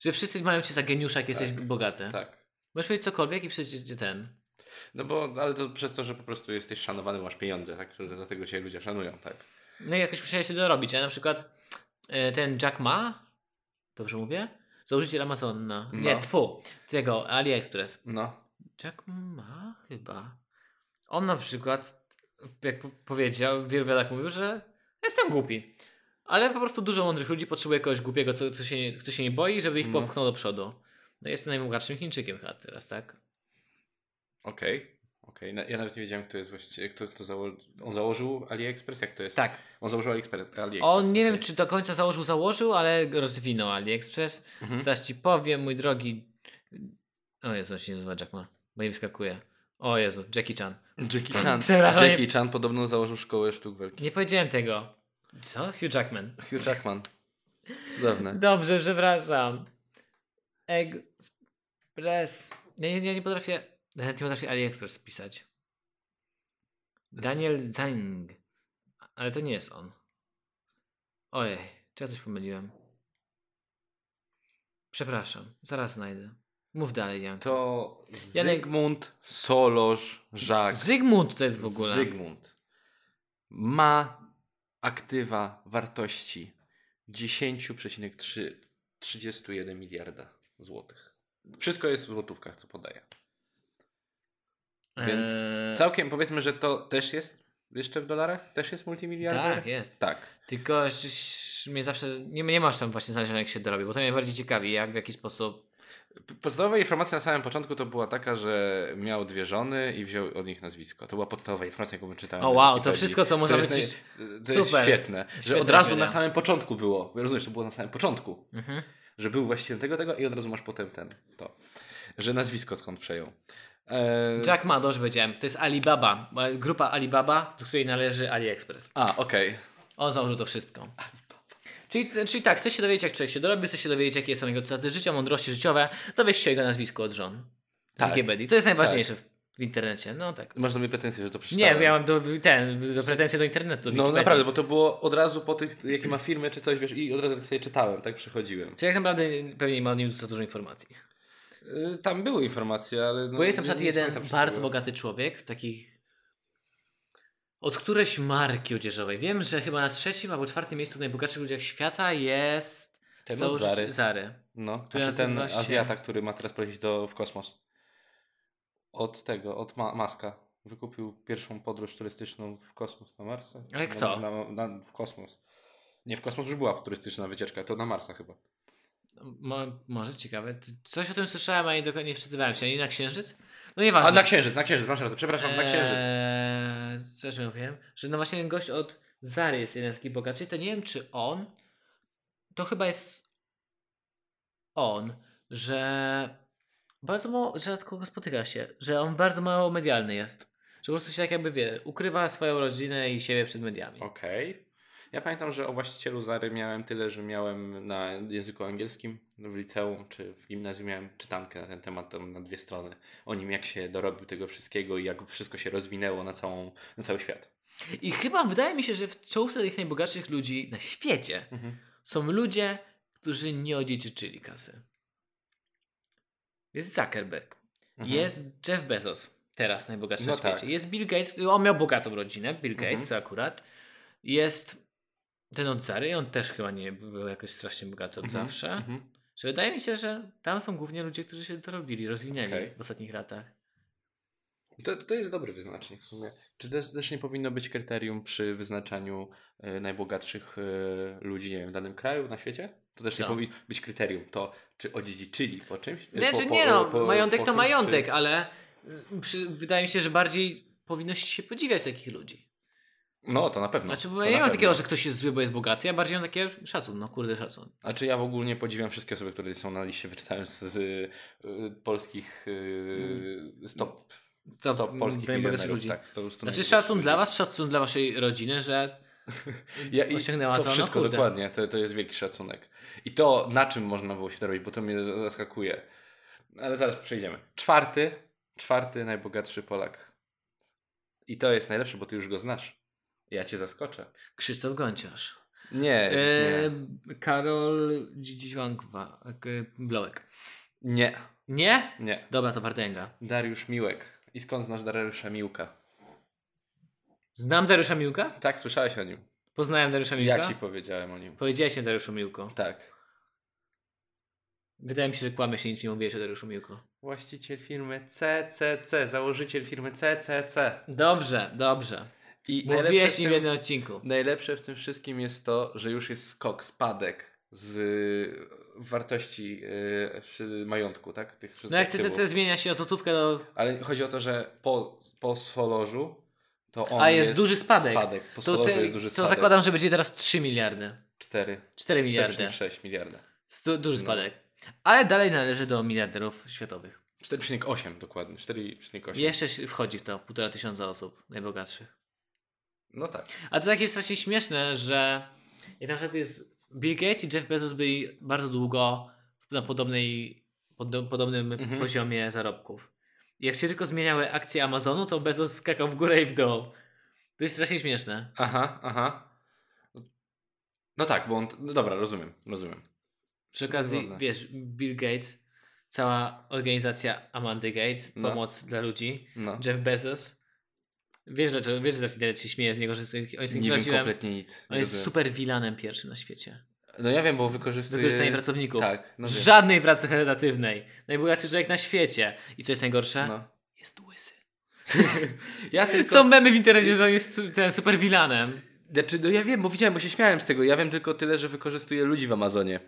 Że wszyscy mają cię za geniusza, jak jesteś bogaty.
Tak.
Możesz powiedzieć cokolwiek i wszyscy cię ten.
No bo, ale to przez to, że po prostu jesteś szanowany, masz pieniądze, tak? To Dlatego cię ludzie szanują, tak?
No i jakoś musiałeś się dorobić, a na przykład e, ten Jack Ma, dobrze mówię? Założyciel Amazona. Nie,
No.
tfu, tego, AliExpress.
No.
Jack ma chyba. On na przykład, jak po- powiedział, w wielu wywiadach mówił, że jestem głupi. Ale po prostu dużo mądrych ludzi potrzebuje kogoś głupiego, co, co, się, nie- kto się nie boi, żeby ich
No.
popchnął do przodu. No jestem najbogatszym Chińczykiem chyba teraz, tak?
Okej. Okej. Na- Ja nawet nie wiedziałem, kto jest właściwie, kto, kto założył. On założył AliExpress? Jak to jest?
Tak.
On założył AliExpress. AliExpress
On nie
okej.
wiem, czy do końca założył, założył, ale rozwinął AliExpress.
Mhm.
Zaś ci powiem, mój drogi... O Jezu, on się nie nazywa Jack Ma, bo nie wyskakuje. O Jezu, Jackie Chan.
Jackie Chan.
Przepraszam,
Jackie Chan podobno założył szkołę sztuk walki.
Nie powiedziałem tego. Co? Hugh Jackman.
Hugh Jackman. Cudowne.
Dobrze, przepraszam. Express. Nie, nie, nie, nie potrafię. Nawet nie potrafię AliExpress pisać. Daniel Zhang. Ale to nie jest on. Ojej, czy ja coś pomyliłem? Przepraszam, zaraz znajdę. Mów dalej, Jan.
To
Janek-
Zygmunt Solosz Żak.
Zygmunt to jest w ogóle.
Zygmunt ma aktywa wartości 10,331 miliarda złotych. Wszystko jest w złotówkach, co podaję. Więc
Eee,
całkiem powiedzmy, że to też jest jeszcze w dolarach? Też jest multimiliarder?
Tak, jest.
Tak.
Tylko że- że mnie zawsze. Nie, nie masz tam właśnie znalezione, jak się dorobi, bo to mnie bardziej ciekawi, jak w jaki sposób
P- Podstawowa informacja na samym początku to była taka, że miał dwie żony i wziął od nich nazwisko. To była podstawowa informacja, jaką wyczytałem.
O,
na
wow, to
Wikipedii.
wszystko, co można
jest
wyczytać.
naj- To jest
Super.
świetne, że od
Świetna
razu
wiedza.
na samym początku było. Rozumiesz, to było na samym początku.
Mhm.
Że był właścicielem tego, tego i od razu masz potem ten, to. Że nazwisko skąd przejął. E...
Jack Ma, dobrze powiedziałem. To jest Alibaba. Grupa Alibaba, do której należy AliExpress.
A, okej.
On założył to wszystko. Czyli, czyli tak, chcesz się dowiedzieć, jak człowiek się dorobił, chcesz się dowiedzieć, jakie są jego cechy życia, mądrości życiowe, dowiesz się jego nazwisko od żon. Z
Tak.
Wikipedii. To jest najważniejsze w- w internecie. No tak.
Masz do mnie pretensje, że to przeczytałem.
Nie, ja mam do, ten, do pretensje do internetu. do
No
Wikipedii.
naprawdę, bo to było od razu po tych, jakie ma firmy czy coś, wiesz, i od razu tak sobie czytałem, tak przechodziłem.
Czyli jak naprawdę pewnie nie ma o nim za dużo informacji.
Y, Tam były informacje, ale... No,
Bo jest na przykład
nie- nie
jeden
pamiętam
bardzo
wszystkiego.
bogaty człowiek, takich od którejś marki odzieżowej. Wiem, że chyba na trzecim albo czwartym miejscu w najbogatszych ludziach świata jest
Ten od
założyciel-
Zary.
Zary.
No, a
który
czy ten
nazywa się-
Azjata, który ma teraz polecieć do, w kosmos? Od tego, od ma- Maska. Wykupił pierwszą podróż turystyczną w kosmos na Marsa.
Ale
Na-
kto?
Na, na, w kosmos. Nie, w kosmos już była turystyczna wycieczka, to na Marsa chyba.
Mo, może ciekawe. Coś o tym słyszałem, a nie, do, nie wczytywałem się. Ani na księżyc? No nieważne.
A na Księżyc, na Księżyc, masz rację, przepraszam, na Księżyc.
Eee, co że mówiłem? Że no właśnie ten gość od Zary jest jeden z takich bogaczy. To nie wiem, czy on. To chyba jest on, że bardzo mało, rzadko go spotyka się, że on bardzo mało medialny jest. Że po prostu się tak jakby wie, ukrywa swoją rodzinę i siebie przed mediami.
Okej. Ja pamiętam, że o właścicielu Zary miałem tyle, że miałem na języku angielskim w liceum czy w gimnazjum miałem czytankę na ten temat tam na dwie strony. O nim jak się dorobił tego wszystkiego i jak wszystko się rozwinęło na, całą, na cały świat.
I chyba wydaje mi się, że w czołówce tych najbogatszych ludzi na świecie
Mhm.
są ludzie, którzy nie odziedziczyli kasy. Jest Zuckerberg,
Mhm.
jest Jeff Bezos, teraz najbogatszy
No
na świecie.
tak.
Jest Bill Gates, on miał bogatą rodzinę, Bill Gates
Mhm.
to akurat. Jest ten od Zary, on też chyba nie był jakoś strasznie bogaty od
Mhm.
zawsze.
Mhm.
Że wydaje mi się, że tam są głównie ludzie, którzy się dorobili, rozwinęli
Okej.
w ostatnich latach.
To, to jest dobry wyznacznik w sumie. Czy też, też nie powinno być kryterium przy wyznaczaniu e, najbogatszych e, ludzi nie wiem, w danym kraju, na świecie? To też nie
Co?
powinno być kryterium. To, czy odziedziczyli po czymś? E,
Nie,
po,
czy
po-
nie no,
po-
majątek
po
to
kimś, czy-
majątek, ale y, przy, wydaje mi się, że bardziej powinno się podziwiać takich ludzi.
No, to na pewno.
Znaczy,
to
bo ja nie
na
mam
pewno.
takiego, że ktoś jest zły, bo jest bogaty, ja bardziej mam takie szacun, no kurde szacun.
A czy Znaczy, ja w ogóle nie podziwiam wszystkie osoby, które są na liście, wyczytałem z, z y, y, polskich
Mm.
y, stop,
Top,
stop, polskich
najbogatszych
milionerów.
ludzi.
Tak, sto, sto
Znaczy
najbogatszych
szacun
ludzi.
dla was, szacun dla waszej rodziny, że
Ja, i
osiągnęła
to,
to, no
wszystko
kurde.
dokładnie, to, to jest wielki szacunek. I to, na czym można było się to robić, bo to mnie zaskakuje. Ale zaraz przejdziemy. Czwarty, czwarty najbogatszy Polak. I to jest najlepsze, bo ty już go znasz. Ja cię zaskoczę.
Krzysztof Gonciarz.
Nie,
E,
nie,
Karol Dzidziwankwa, Blołek.
nie,
Nie?
nie.
Dobra, to Wardęga.
Dariusz Miłek. I skąd znasz Dariusza Miłka?
Znam Dariusza Miłka?
Tak, słyszałeś o nim.
Poznałem Dariusza Miłka?
Ja ci powiedziałem o nim.
Powiedziałeś mi Dariuszu Miłku.
Tak.
Wydaje mi się, że kłamie się nic nie mówiłeś o Dariuszu Miłku.
Właściciel firmy CCC, założyciel firmy CCC.
Dobrze, dobrze.
I najlepsze
Mówiłeś
w
mi w
tym-
jednym odcinku.
Najlepsze w tym wszystkim jest to, że już jest skok, spadek z y, wartości y, przy majątku, tak? Tych wszystkich
No jak
aktywów.
CCC zmienia się o złotówkę, no, to...
Ale chodzi o to, że po, po Solorzu to on
A jest, duży spadek.
spadek. Po
To,
Solorzu
te,
jest duży
to
spadek.
zakładam, że będzie teraz 3 miliardy.
4
4 miliardy.
6 miliarda.
Stu, duży
No.
spadek. Ale dalej należy do miliarderów światowych.
4,8 dokładnie. 4,8.
Jeszcze się wchodzi w to półtora tysiąca osób najbogatszych.
No tak.
A to takie strasznie śmieszne, że jak na przykład jest Bill Gates i Jeff Bezos byli bardzo długo na podobnej, podo- podobnym
Mhm.
poziomie zarobków. Jak się tylko zmieniały akcje Amazonu, to Bezos skakał w górę i w dół. To jest strasznie śmieszne.
Aha, aha. No tak, bo on. No dobra, rozumiem, rozumiem.
Przy okazji,
Zgodne.
wiesz, Bill Gates, cała organizacja Amandy Gates,
No.
pomoc dla ludzi,
No.
Jeff Bezos. Wiesz, dlaczego, wiesz, dlaczego internet się śmieje z niego, że jest, on jest,
Nie wiem
prawdziwym-
kompletnie nic.
on
Nie
jest
rozumiem.
super wilanem pierwszym na świecie.
No ja wiem, bo wykorzystuje.
Wykorzystanie pracowników.
Tak, no wiem.
Żadnej pracy charytatywnej. Najbogatszy człowiek na świecie. I co jest najgorsze?
No.
Jest łysy.
Ja tylko...
Są memy w internecie, że on jest su- ten super wilanem.
Znaczy, no ja wiem, bo widziałem, bo się śmiałem z tego. Ja wiem tylko tyle, że wykorzystuje ludzi w Amazonie.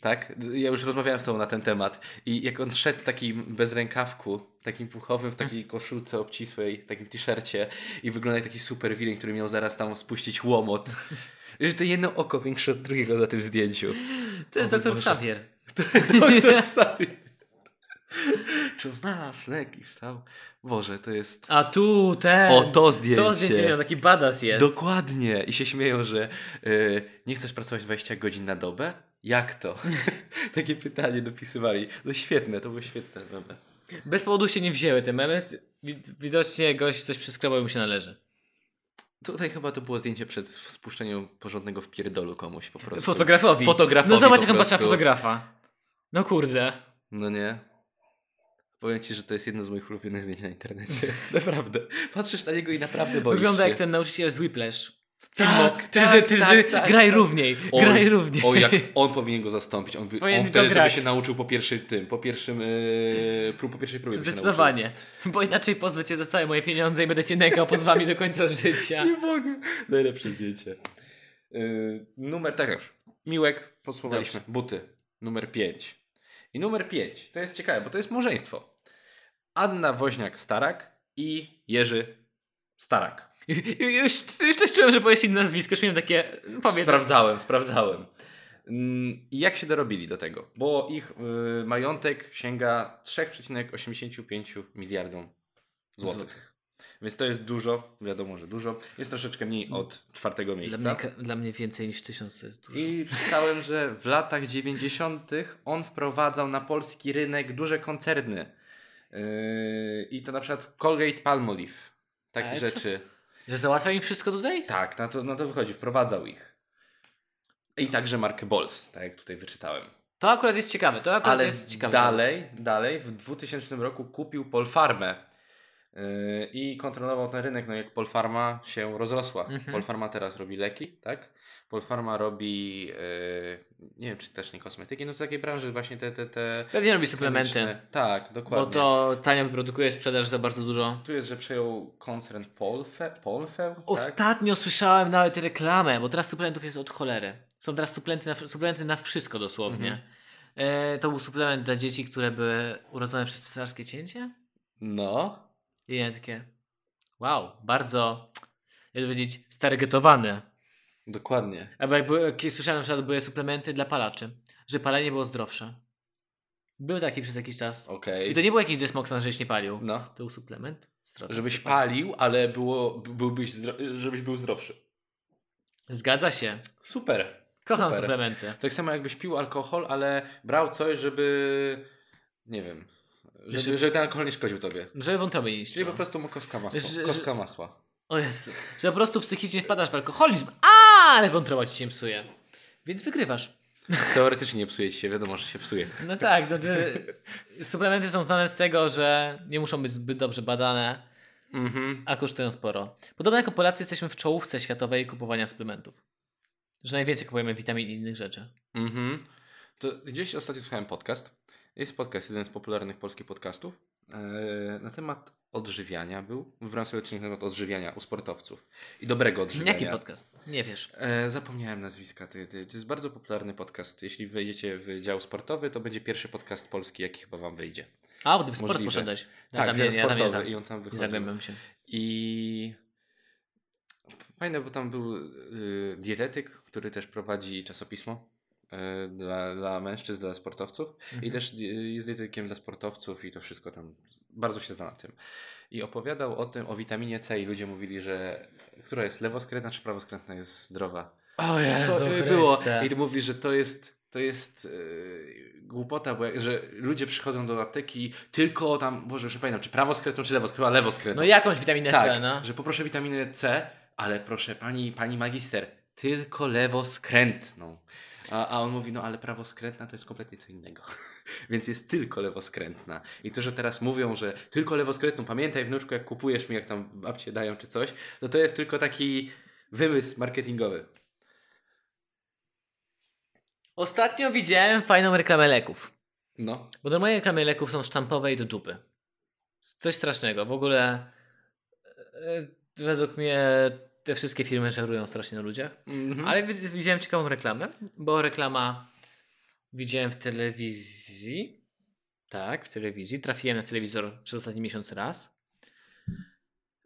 Tak, ja już rozmawiałem z tobą na ten temat i jak on szedł takim bez rękawku, takim puchowym, w takiej koszulce obcisłej, takim t-shircie i wyglądał jak taki super villain, który miał zaraz tam spuścić łomot. Że to jedno oko większe od drugiego na tym zdjęciu.
To jest
O
doktor
Boże.
Xavier.
Doktor Sabi. Czy on znalazł lek i wstał? Boże, to jest...
A tu ten.
O, to zdjęcie!
To zdjęcie miał taki badass jest.
Dokładnie. I się śmieją, że y, nie chcesz pracować 20 godzin na dobę? Jak to? Takie pytanie dopisywali. No świetne, to było świetne. meme.
Bez powodu się nie wzięły te memy. Wi- Widocznie gość coś przyskrobał i mu się należy.
Tutaj chyba to było zdjęcie przed spuszczeniem porządnego wpierdolu komuś po prostu.
Fotografowi.
Fotografowi
No zobacz,
po
jak on patrzy na
prostu.
fotografa. No kurde.
No nie. Powiem ci, że to jest jedno z moich ulubionych zdjęć na internecie. Naprawdę. Patrzysz na niego i naprawdę boisz
Wygląda
się.
jak ten nauczyciel z Whiplash.
Tak,
Filmo-
tak,
ty, ty,
tak,
ty,
tak,
graj
tak.
równiej,
On-
graj równiej.
O, jak on powinien go zastąpić. On, by,
Powinien
on wtedy to by
dograć.
się nauczył po pierwszym tym, po pierwszym yy, prób, po pierwszej próbie by się nauczył.
Zdecydowanie. Bo inaczej pozwę cię za całe moje pieniądze i będę cię nękał pozwami do końca życia.
Nie mogę. Najlepsze zdjęcie. Yy, numer, tak już. Miłek, podsumowaliśmy. Buty. Numer 5. I numer 5, to jest ciekawe, bo to jest małżeństwo. Anna Woźniak-Starak i Jerzy Starak.
Ju- ju- Już, już też czułem, że powiesz inne nazwisko, już miałem takie... Powiem.
Sprawdzałem, sprawdzałem. Mm, I jak się dorobili do tego? Bo ich y, majątek sięga 3,85 miliardów złotych. Więc to jest dużo, wiadomo, że dużo. Jest troszeczkę mniej od czwartego
Dla
miejsca.
mnie, ka- dla mnie więcej niż tysiąc to jest dużo.
I czytałem, że w latach 90. on wprowadzał na polski rynek duże koncerny. Yy, I to na przykład Colgate Palmolive. Takie
Ale co-
rzeczy.
Że załatwia im wszystko tutaj?
Tak, na to, na to wychodzi, wprowadzał ich. I także markę Bols, tak jak tutaj wyczytałem.
To akurat jest ciekawe, to akurat
Ale
jest ciekawe.
dalej, dalej, w 2000 roku kupił Polfarmę yy, i kontrolował ten rynek, no jak Polfarma się rozrosła.
Mhm.
Polfarma teraz robi leki, tak? Polfarma robi, yy, nie wiem, czy też nie kosmetyki, no to takiej branży właśnie te... te, te
Pewnie robi suplementy,
chemiczne. Tak,
bo
dokładnie.
to tanio wyprodukuje sprzedaż za bardzo dużo.
Tu jest, że przejął koncern Polfe, Polfeł, tak?
Ostatnio słyszałem nawet reklamę, bo teraz suplementów jest od cholery. Są teraz suplementy na, suplementy na wszystko dosłownie.
Mhm.
E, to był suplement dla dzieci, które były urodzone przez cesarskie cięcie?
No,
I ja takie, wow, bardzo, jakby powiedzieć, stargetowane.
dokładnie.
Albo jak, były, jak słyszałem, na przykład były suplementy dla palaczy, że palenie było zdrowsze. Był taki przez jakiś czas.
Okej.
I to nie był jakiś desmoksan, żeś nie palił.
No.
To był suplement zdrowszy.
Żebyś palił, ale było, byłbyś zdro- żebyś był zdrowszy.
Zgadza się.
Super.
Kocham
Super.
suplementy.
Tak samo jakbyś pił alkohol, ale brał coś, żeby. Nie wiem. Żeby,
Żeby-
żeby ten alkohol nie szkodził tobie.
Żeby wątroby nie
Czyli
niszczyło.
po prostu mu kostka masła.
Że- że-
Kostka masła.
O Jezu. Że po prostu psychicznie wpadasz w alkoholizm, ale wątroba ci się psuje. Więc wygrywasz.
Teoretycznie nie psuje ci się, wiadomo, że się psuje.
No tak, no, to- suplementy są znane z tego, że nie muszą być zbyt dobrze badane,
Mhm.
a kosztują sporo. Podobno jako Polacy jesteśmy w czołówce światowej kupowania suplementów. Że najwięcej kupujemy witamin i innych rzeczy.
Mhm. To gdzieś ostatnio słuchałem podcast. Jest podcast, jeden z popularnych polskich podcastów. e, Na temat odżywiania był. Wybrałem sobie odcinek na temat odżywiania u sportowców. I dobrego odżywiania.
Jaki podcast? Nie wiesz.
E, zapomniałem nazwiska. To, to jest bardzo popularny podcast. Jeśli wejdziecie w dział sportowy, to będzie pierwszy podcast polski, jaki chyba wam wyjdzie.
A, bo ty w sport
Możliwe.
poszedłeś. No,
tak,
tam
dział
nie, ja tam nie,
sportowy
za-
i on tam
nie
wychodzi.
zagłębiam się.
I fajne, bo tam był y, dietetyk, który też prowadzi czasopismo y, dla, dla mężczyzn, dla sportowców.
Mhm.
I też y, jest dietetykiem dla sportowców i to wszystko tam. Bardzo się zna na tym. I opowiadał o tym, o witaminie C i ludzie mówili, że która jest lewoskrętna czy prawoskrętna jest zdrowa.
O Jezu
Co y, było?
Chryste.
I tu mówi, że to jest, to jest y, głupota, bo jak, że ludzie przychodzą do apteki i tylko tam, Boże, już nie pamiętam, czy prawo skrętą, czy lewo skrętą, lewo skrętą.
No jakąś witaminę
tak,
C, no.
że poproszę witaminę C, ale proszę pani, pani magister, tylko lewo skrętną. A, a on mówi, no ale prawoskrętna to jest kompletnie co innego. Więc jest tylko lewoskrętna. I to, że teraz mówią, że tylko lewoskrętną, pamiętaj wnuczku, jak kupujesz mi, jak tam babcie dają czy coś, no to jest tylko taki wymysł marketingowy.
Ostatnio widziałem fajną reklamę leków.
No,
Bo normalnie reklamy leków są sztampowe i do dupy. Coś strasznego. W ogóle e, według mnie te wszystkie firmy żerują strasznie na ludziach.
Mhm.
Ale wi- widziałem ciekawą reklamę, bo reklama widziałem w telewizji. Tak, w telewizji. Trafiłem na telewizor przez ostatni miesiąc raz.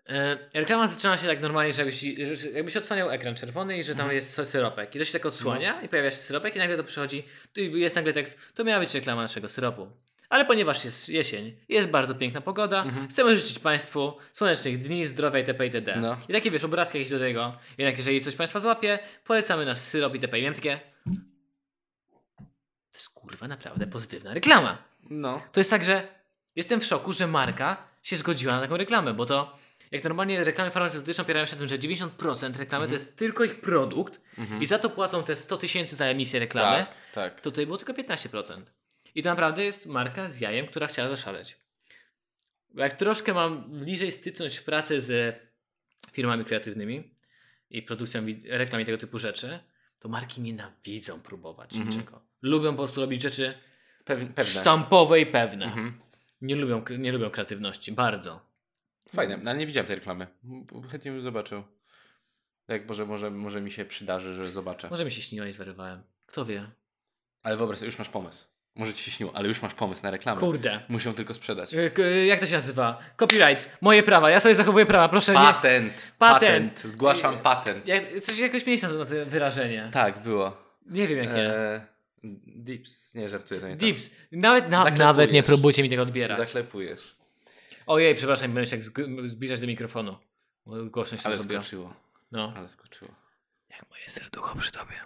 E, Reklama zaczyna się tak normalnie, że jakbyś, że jakbyś odsłaniał ekran czerwony i że tam
Mhm. No.
jest sy- syropek. I to się tak odsłania i pojawia się syropek i nagle to przychodzi. Tu jest nagle tekst, to miała być reklama naszego syropu. Ale ponieważ jest jesień, jest bardzo piękna pogoda,
Mhm.
chcemy życzyć Państwu słonecznych dni, zdrowia itp. itd.
No.
I takie wiesz, obrazki jakieś do tego. Jednak jeżeli coś Państwa złapie, polecamy nasz syrop itp. I miałem takie... To jest kurwa naprawdę pozytywna reklama.
No.
To jest tak, że jestem w szoku, że marka się zgodziła na taką reklamę, bo to jak normalnie reklamy farmaceutyczne opierają się na tym, że 90% reklamy to jest tylko ich produkt
Mhm.
i za to płacą te 100 tysięcy za emisję reklamy,
tak, tak.
to tutaj było tylko 15%. I to naprawdę jest marka z jajem, która chciała zaszaleć. Jak troszkę mam bliżej styczność w pracy z firmami kreatywnymi i produkcją wi- reklam i tego typu rzeczy, to marki nienawidzą próbować
Mhm.
niczego. Lubią po prostu robić rzeczy
Pew- pewne.
sztampowe i pewne.
Mhm.
Nie lubią, nie lubią kreatywności, bardzo.
Fajne, no, ale nie widziałem tej reklamy. Chętnie bym zobaczył. Tak, może, może, może mi się przydarzy, że zobaczę.
Może mi się śniła i zwariowałem. Kto wie?
Ale wyobraź sobie, już masz pomysł. Może ci się śniło, ale już masz pomysł na reklamę.
Kurde.
Muszę ją tylko sprzedać.
Y, k- y, Jak to się nazywa? Copyrights. Moje prawa. Ja sobie zachowuję prawa, proszę nie.
Patent,
Patent.
patent. Zgłaszam patent.
Jak, coś jakoś mieliście na to na to wyrażenie.
Tak, było.
Nie wiem jakie.
E, dips. Nie, żartuję, to nie
Dips. Nawet, na,
Zaklepujesz.
nawet nie próbujcie mi tego
tak.
odbierać.
Zaklepujesz.
Ojej, przepraszam, będę się tak zg- zbliżać do mikrofonu. Bo Głośno się
Ale
zrobiło.
skoczyło.
No.
Ale skoczyło.
Jak moje serducho przy tobie.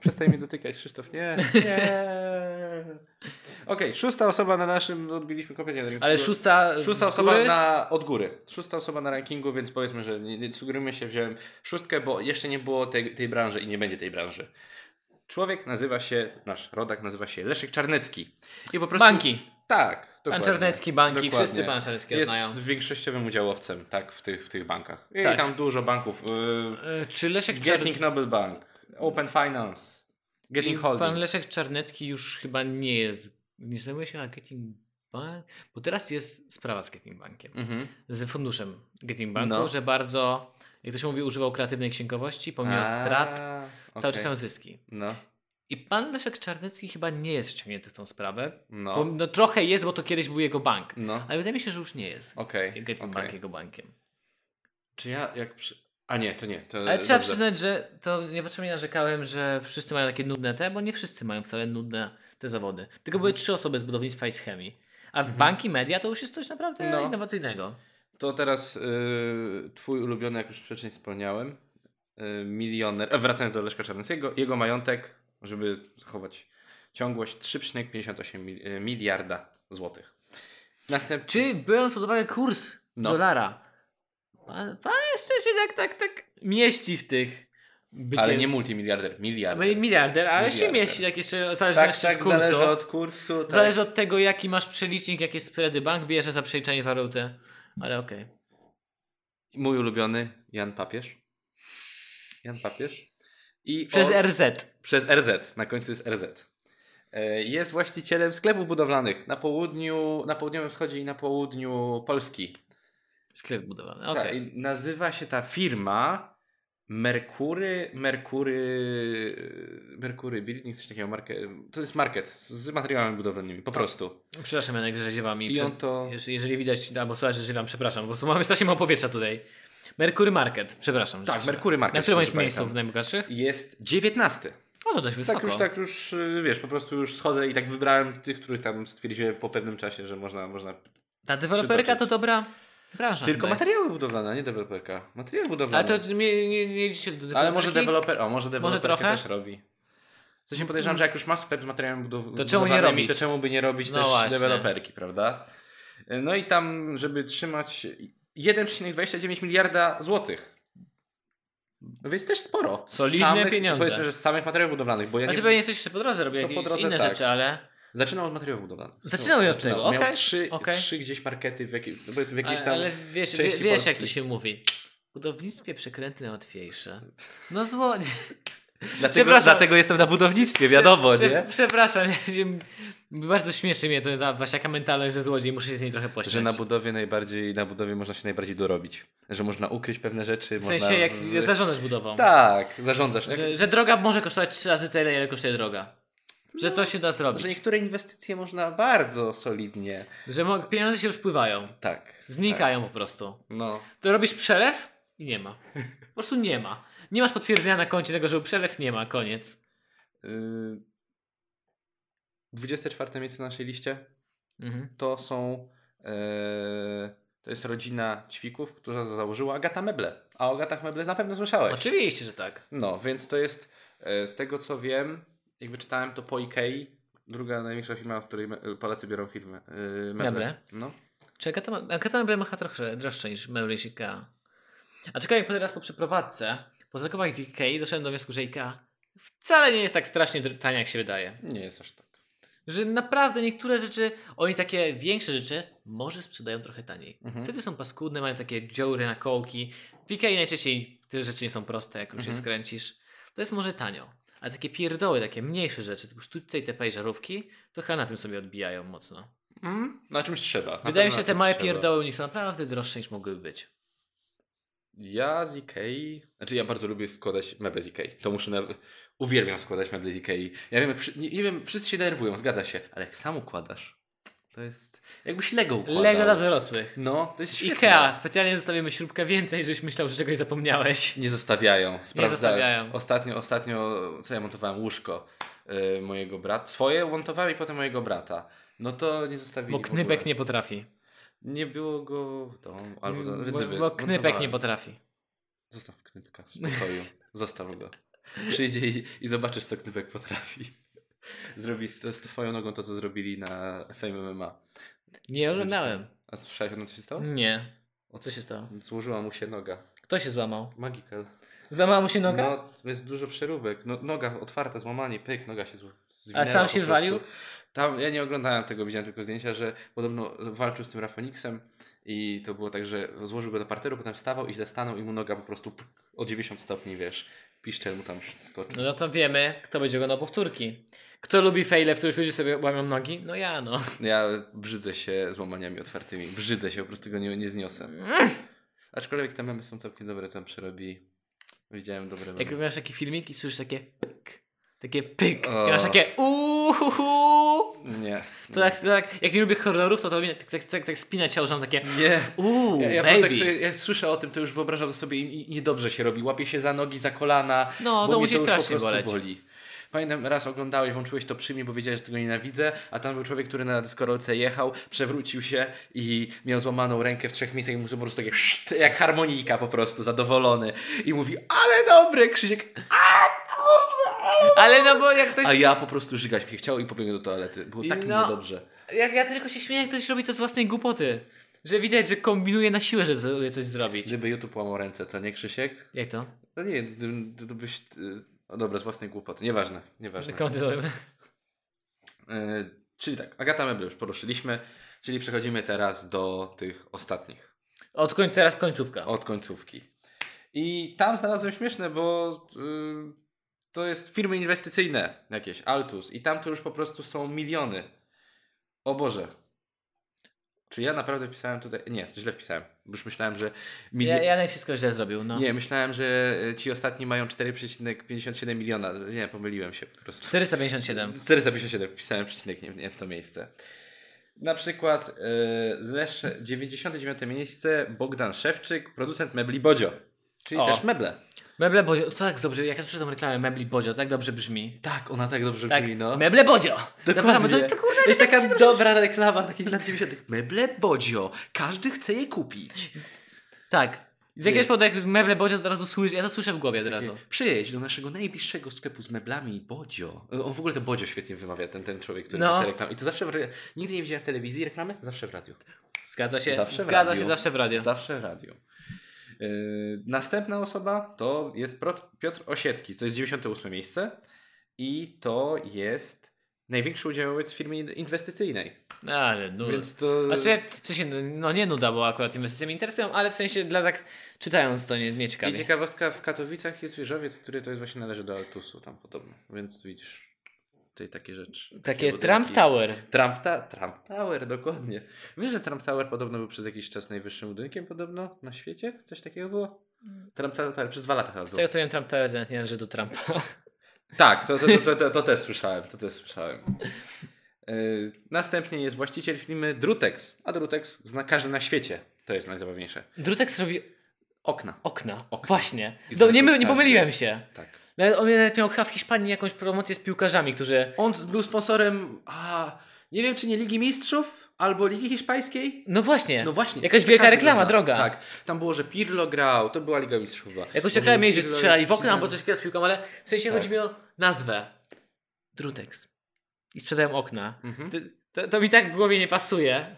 Przestań mnie dotykać, Krzysztof. Nie, nie. Okej, szósta osoba na naszym, no, odbiliśmy kompletnie. od rankingu.
Ale szósta.
Szósta
z
osoba
góry?
na, od góry. Szósta osoba na rankingu, więc powiedzmy, że nie, nie sugerujmy się, wziąłem szóstkę, bo jeszcze nie było tej, tej branży i nie będzie tej branży. Człowiek nazywa się, nasz rodak nazywa się Leszek Czarnecki. I po prostu...
Banki.
Tak,
Pan
dokładnie.
Czarnecki, banki.
Dokładnie.
Wszyscy pan Czarneckiego
Jest
znają.
większościowym udziałowcem, tak, w tych, w tych bankach. I
Tak.
tam dużo banków. Yy,
E, Czy Leszek Czarnecki.
Getting Noble Bank, Open Finance, Getting
I
Holding.
Pan Leszek Czarnecki już chyba nie jest. Nie zajmuje się na Getting Bank? Bo teraz jest sprawa z Getting Bankiem.
Mhm.
Z funduszem Getting Banku,
No.
że bardzo, jak to się mówi, używał kreatywnej księgowości, pomimo strat,
A,
cały
okej.
czas miał zyski.
No,
I pan Leszek Czarnecki chyba nie jest wciągnięty w tą sprawę.
no,
Bo, no trochę jest, bo to kiedyś był jego bank.
no.
Ale wydaje mi się, że już nie jest.
Okej,
Getting
okej.
Bank jego bankiem.
Czy ja jak przy... A nie, to nie. To
Ale trzeba
E, dobrze.
przyznać, że to nie potrzebnie narzekałem, że wszyscy mają takie nudne te, bo nie wszyscy mają wcale nudne te zawody. Tylko
Mhm.
były trzy osoby z budownictwa i z chemii. A w banki media to już jest coś naprawdę
No.
innowacyjnego.
To teraz y, twój ulubiony, jak już wcześniej wspomniałem, y, milioner, e, wracając do Leszka Czarneckiego, jego majątek, żeby zachować ciągłość, 3,58 mil, y, miliarda złotych. Następny...
Czy biorąc pod uwagę kurs
No.
dolara, pan, pan jeszcze się tak, tak, tak mieści w tych bycie... No
Ale nie multimiliarder, miliarder.
miliarder, ale się
Miliarder.
mieści tak jeszcze w
Tak,
zależności
tak,
od kursu.
zależy od kursu. Tak.
Zależy od tego, jaki masz przelicznik, jakie spready bank bierze za przeliczanie waluty. Ale okej.
Mój ulubiony, Jan Papież. Jan Papież. I
Przez
on-
RZ.
Przez RZ, na końcu jest RZ. E, Jest właścicielem sklepów budowlanych na południu, na południowym wschodzie i na południu Polski.
Sklep budowlany.
Tak,
Okej.
i nazywa się ta firma Merkury, Merkury, Merkury Building, coś takiego, market, to jest market z z materiałami budowlanymi, po prostu.
Przepraszam, Janek, że ziewam Tak. i,
I on to,
Jeż- Jeżeli widać, albo słychać, że ziewam, przepraszam, po prostu mamy strasznie mało powietrza tutaj. Merkury Market, przepraszam. że
Tak,
strasznie-
Merkury Market,
Na którym
jeśli
jest
dobrze
miejscu w
pamiętam.
najbogatszych?
jest 19.
O, to dość wysoko.
Tak już, tak już, y, wiesz, po prostu już schodzę i tak wybrałem tych, których tam stwierdziłem po pewnym czasie, że można, można
Ta deweloperka to
Przytoczyć.
dobra branża.
Tylko
chyba jest.
materiały budowlane, a nie deweloperka. Materiały budowlane.
Ale to nie, nie, nie liczy się do
Ale może
deweloperki?
deweloper, o, może deweloperka
trochę? Mm.
też robi. Co się podejrzewam, że jak już masz sklep z materiałem budow-
To czemu nie
budowlanym,
robić?
To czemu by nie robić
No
też
właśnie.
deweloperki, prawda? No i tam, żeby trzymać 1,29 miliarda złotych. No Więc też sporo. Z
Solidne
samych,
pieniądze.
Powiedzmy, że z samych materiałów budowlanych, bo ja nie
Znaczy pewnie coś jeszcze po drodze robił,
To
jakieś
po drodze
inne
tak.
rzeczy, ale...
Zaczynał od materiałów budowlanych.
Zaczynał od tego,
Miał
okej,
trzy,
okej.
trzy gdzieś markety w, jakiej, powiedzmy w jakiejś
Ale,
tam...
ale wiesz, wie,
części
wiesz jak to
Polski.
się mówi. W budownictwie przekręty najłatwiejsze. No złodziej.
Dlatego,
Przepraszam.
dlatego jestem na budownictwie, wiadomo,
Prze-
nie?
prze- Przepraszam, ja się Bardzo śmieszy mnie ta, ta właśnie taka mentalność, że złodziej, muszę się z niej trochę pośmiać.
Że na budowie najbardziej, na budowie można się najbardziej dorobić. Że można ukryć pewne rzeczy.
W sensie,
można...
jak
w-
zarządzasz budową.
Tak, zarządzasz. Jak...
Że, że droga może kosztować trzy razy tyle, ile kosztuje droga. Że to się da
Że
zrobić.
niektóre inwestycje można bardzo solidnie.
Że mo- pieniądze się rozpływają.
Tak. Tak.
Znikają po prostu.
No.
To robisz przelew i nie ma. Po prostu nie ma. Nie masz potwierdzenia na koncie tego, że był przelew nie ma, koniec.
Yy... 24 miejsce na naszej liście
Mhm.
to są. Yy... To jest rodzina ćwików, która założyła Agata Meble. A o Agatach Meble na pewno słyszałeś.
Oczywiście, że tak.
No, więc to jest e, z tego co wiem, jakby czytałem to po Ikei, druga największa firma, od której me- Polacy biorą firmy. Yy, meble.
Meble.
No.
Czy Agata, ma- Agata Meble ma chyba trochę droższe niż Meble i IKEA. A czekaj, jak teraz po przeprowadzce, po zakupach w IKEA doszedłem do wniosku, że IKEA wcale nie jest tak strasznie dr- tania, jak się wydaje.
Nie jest aż tak.
Że naprawdę niektóre rzeczy, oni takie większe rzeczy, może sprzedają trochę taniej.
Mhm.
Wtedy są paskudne, mają takie dziury na kołki. W Ikei najczęściej te rzeczy nie są proste, jak już
Mhm.
je skręcisz. To jest może tanio. Ale takie pierdoły, takie mniejsze rzeczy, typu sztućce itp. i żarówki, to chyba na tym sobie odbijają mocno.
Mm? Na czymś trzeba. Na
Wydaje mi
pewno
się,
na
że te
czymś
małe
trzeba.
pierdoły u nich są naprawdę droższe niż mogłyby być.
Ja z Ikei... Znaczy ja bardzo lubię składać meble z Ikei. To muszę... Na... Uwielbiam składać meble z Ikei. Ja wiem, jak... Wszy... Nie, nie wiem, wszyscy się denerwują, zgadza się. Ale jak sam układasz, to jest... Jakbyś Lego układał.
Lego dla dorosłych.
No, to jest świetne.
IKEA, specjalnie zostawimy śrubkę więcej, żebyś myślał, że czegoś zapomniałeś.
Nie zostawiają. Sprawdzałem.
zostawiają.
Ostatnio, ostatnio, co ja montowałem? Łóżko y, mojego brata. Swoje montowałem i potem mojego brata. No to nie zostawili.
Bo
w
knypek
ogóle.
nie potrafi. Mm,
Nie było go w domu. Albo za,
Bo,
gdyby
bo knypek nie
montowałem.
potrafi.
Zostaw knypka w spokoju. Zostaw go. Przyjdzie i, i zobaczysz, co knypek potrafi. Zrobi z, z twoją nogą to, co zrobili na Fame MMA.
Nie oglądałem.
A słyszałeś o tym, co się stało?
Nie. O co się stało?
Złożyła mu się noga.
Kto się złamał?
Magical.
Złamała mu się noga?
No, jest dużo przeróbek. No, noga otwarta, złamanie, pyk, noga się zł- zwinęła.
A sam
po
się
prostu.
walił?
Tam, ja nie oglądałem tego, widziałem tylko zdjęcia, że podobno walczył z tym Rafoniksem i to było tak, że złożył go do parteru, potem stawał i źle stanął i mu noga po prostu pyk, o 90 stopni, wiesz, piszczel mu tam sz- skoczył.
No, no to wiemy, kto będzie oglądał powtórki. Kto lubi fejle, w których ludzie sobie łamią nogi? No ja no.
Ja brzydzę się złamaniami otwartymi, brzydzę się, po prostu go nie, nie zniosę. Aczkolwiek te memy są całkiem dobre, tam przerobi. Widziałem dobre
Jak
memy.
oglądasz taki filmik i słyszysz takie pyk, takie pyk,
O.
i masz takie uuuuhu.
Nie.
To tak, to tak, jak nie lubię horrorów, to to mnie tak, tak, tak, tak spina ciało, że mam takie
Nie.
uuu,
Ja, ja po
baby.
prostu jak, sobie, jak słyszę o tym, to już wyobrażam sobie i, i niedobrze się robi. Łapie się za nogi, za kolana.
No,
bo
to
mnie
musi
już po
strasznie
prostu
boleć.
boli. Pamiętam, raz oglądałeś, włączyłeś to przy mnie, bo wiedziałeś, że tego nienawidzę, a tam był człowiek, który na dyskorolce jechał, przewrócił się i miał złamaną rękę w trzech miejscach i mu po prostu takie szt, jak harmonika po prostu, zadowolony. I mówi, ale dobry, Krzysiek. A, kurwa.
Ale no bo jak ktoś,
a ja po prostu żygać mi się chciało i pobiegłem do toalety. Było tak
No.
niedobrze.
jak ja tylko się śmieję, jak ktoś robi to z własnej głupoty. Że widać, że kombinuje na siłę, że z- coś zrobić.
Gdyby YouTube łamał ręce, co nie, Krzysiek?
Jak to?
No nie, gdybym- gdybyś. y, O dobra, z własnej głupoty. Nieważne, nieważne.
Kontynuujmy.
Y, czyli tak, Agata Meble już poruszyliśmy, czyli przechodzimy teraz do tych ostatnich,
Od koń, teraz końcówka.
od końcówki. I tam znalazłem śmieszne, bo y, to jest firmy inwestycyjne jakieś, Altus, i tam to już po prostu są miliony. O Boże. Czy ja naprawdę wpisałem tutaj. Nie, źle wpisałem. bo Już myślałem, że. mili-
Ja, Janek wszystko źle zrobił, no.
Nie, myślałem, że y, ci ostatni mają 4,57 miliona. Nie, pomyliłem się po prostu.
457.
457 wpisałem przecinek nie, nie w to miejsce. Na przykład y, Lesze, 99 miejsce Bogdan Szewczyk, producent mebli Bodzio. Czyli
O.
też meble.
Meble Bodzio, to tak dobrze, jak ja słyszę tą reklamę Mebli Bodzio, to tak dobrze brzmi.
Tak, ona tak dobrze
Tak,
brzmi, no.
Meble Bodzio! Zapraszamy, to, to kurde,
to jest taka dobra reklama takich lat 90. Meble Bodzio. Każdy chce je kupić.
Tak. Z jakiegoś powodu jak Meble Bodzio od razu słyszę, ja to słyszę w głowie od razu.
Takie, Przyjedź do naszego najbliższego sklepu z meblami Bodzio. On w ogóle to Bodzio świetnie wymawia, ten, ten człowiek, który
No.
ma te reklamy. I to zawsze w, ra- nigdy nie widziałem w telewizji reklamy, zawsze w radiu.
Zgadza się,
Zawsze w
zgadza
radiu.
się zawsze w radio.
Zawsze radio. Yy, następna osoba to jest Prot- Piotr Osiecki, to jest 98 miejsce i to jest największy udziałowiec w firmie inwestycyjnej.
Ale nuda.
Więc to...
Znaczy, w sensie, no nie nuda, bo akurat inwestycje mnie interesują, ale w sensie dla tak czytając to nie, nie
I
ciekawie.
ciekawostka, w Katowicach jest wieżowiec, który to jest właśnie należy do Altusu tam podobno, więc widzisz. tutaj takie rzeczy.
Takie
budynki.
Trump Tower.
Trump, ta, Trump Tower, dokładnie. Wiesz, że Trump Tower podobno był przez jakiś czas najwyższym budynkiem podobno na świecie? Coś takiego było?
Mm.
Trump Tower przez dwa lata chyba
Z
było.
tego co wiem, Trump Tower nawet nie należy do Trumpa.
Tak, to, to, to, to, to też słyszałem, to też słyszałem. Yy, Następnie jest właściciel firmy Drutex, a Drutex zna każdy na świecie. To jest najzabawniejsze.
Drutek zrobi
Okna.
okna.
Okna.
Właśnie.
I
Do, nie, my- nie
każdy.
pomyliłem się.
Tak.
Nawet, on nawet miał chyba w Hiszpanii jakąś promocję z piłkarzami, którzy...
On był sponsorem, a nie wiem czy nie Ligi Mistrzów albo Ligi Hiszpańskiej.
No właśnie.
No właśnie.
Jakaś
to
wielka
każdy
reklama,
to zna.
droga.
Tak. Tam było, że Pirlo grał, to była Liga Mistrzów chyba.
Jakoś
Może
reklamę mieli, że
Pirlo-
strzelali w okna albo coś takiego z piłką, ale w sensie
Tak.
chodzi mi o nazwę. Drutex. I sprzedałem okna.
Mhm.
To, to, to mi tak w głowie nie pasuje.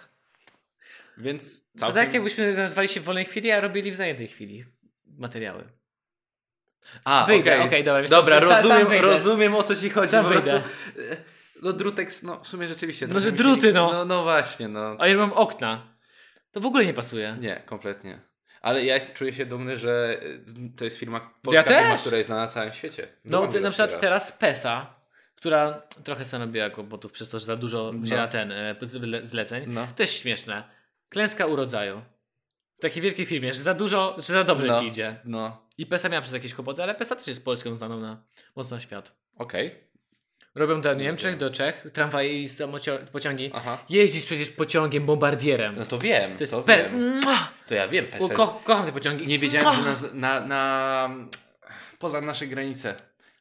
Więc
To
całkiem...
tak jakbyśmy nazwali się w wolnej chwili, a robili w zajętej chwili materiały.
A,
Wyjdę,
okej.
okej, dobra. myślę,
Dobra,
sam- sam
rozumiem,
wyjdę.
rozumiem o co ci chodzi.
Sam
po prostu.
wyjdę.
E, No drutek, no w sumie rzeczywiście.
No,
trochę
że
mi się
druty,
nie-
no.
no. No właśnie, no.
A ja mam okna. To w ogóle nie pasuje.
Nie, kompletnie. Ale ja czuję się dumny, że e, to jest firma, polska
też.
firma, która jest znana na całym świecie.
No,
Była
ty, na przykład
wspiera.
teraz PESA, która trochę stanowiła kłopotów przez to, że za dużo
No.
wzięła ten e, zle- zleceń.
No.
Też śmieszne. Klęska urodzaju. W takiej wielkiej firmie, że za dużo, że za dobrze
No.
ci idzie.
No,
I PESA miała przez to jakieś kłopoty, ale PESA też jest Polską znaną na mocno świat.
okej.
Robią do Niemczech,
Niemczech,
do Czech, tramwaje i pociągi.
Aha.
Jeździsz przecież pociągiem, bombardierem.
No to wiem,
To jest
to
pe-
wiem. To ja wiem, PESEL.
Ko- kocham te pociągi.
Nie wiedziałem,
Oh.
że na, na, na, poza nasze granice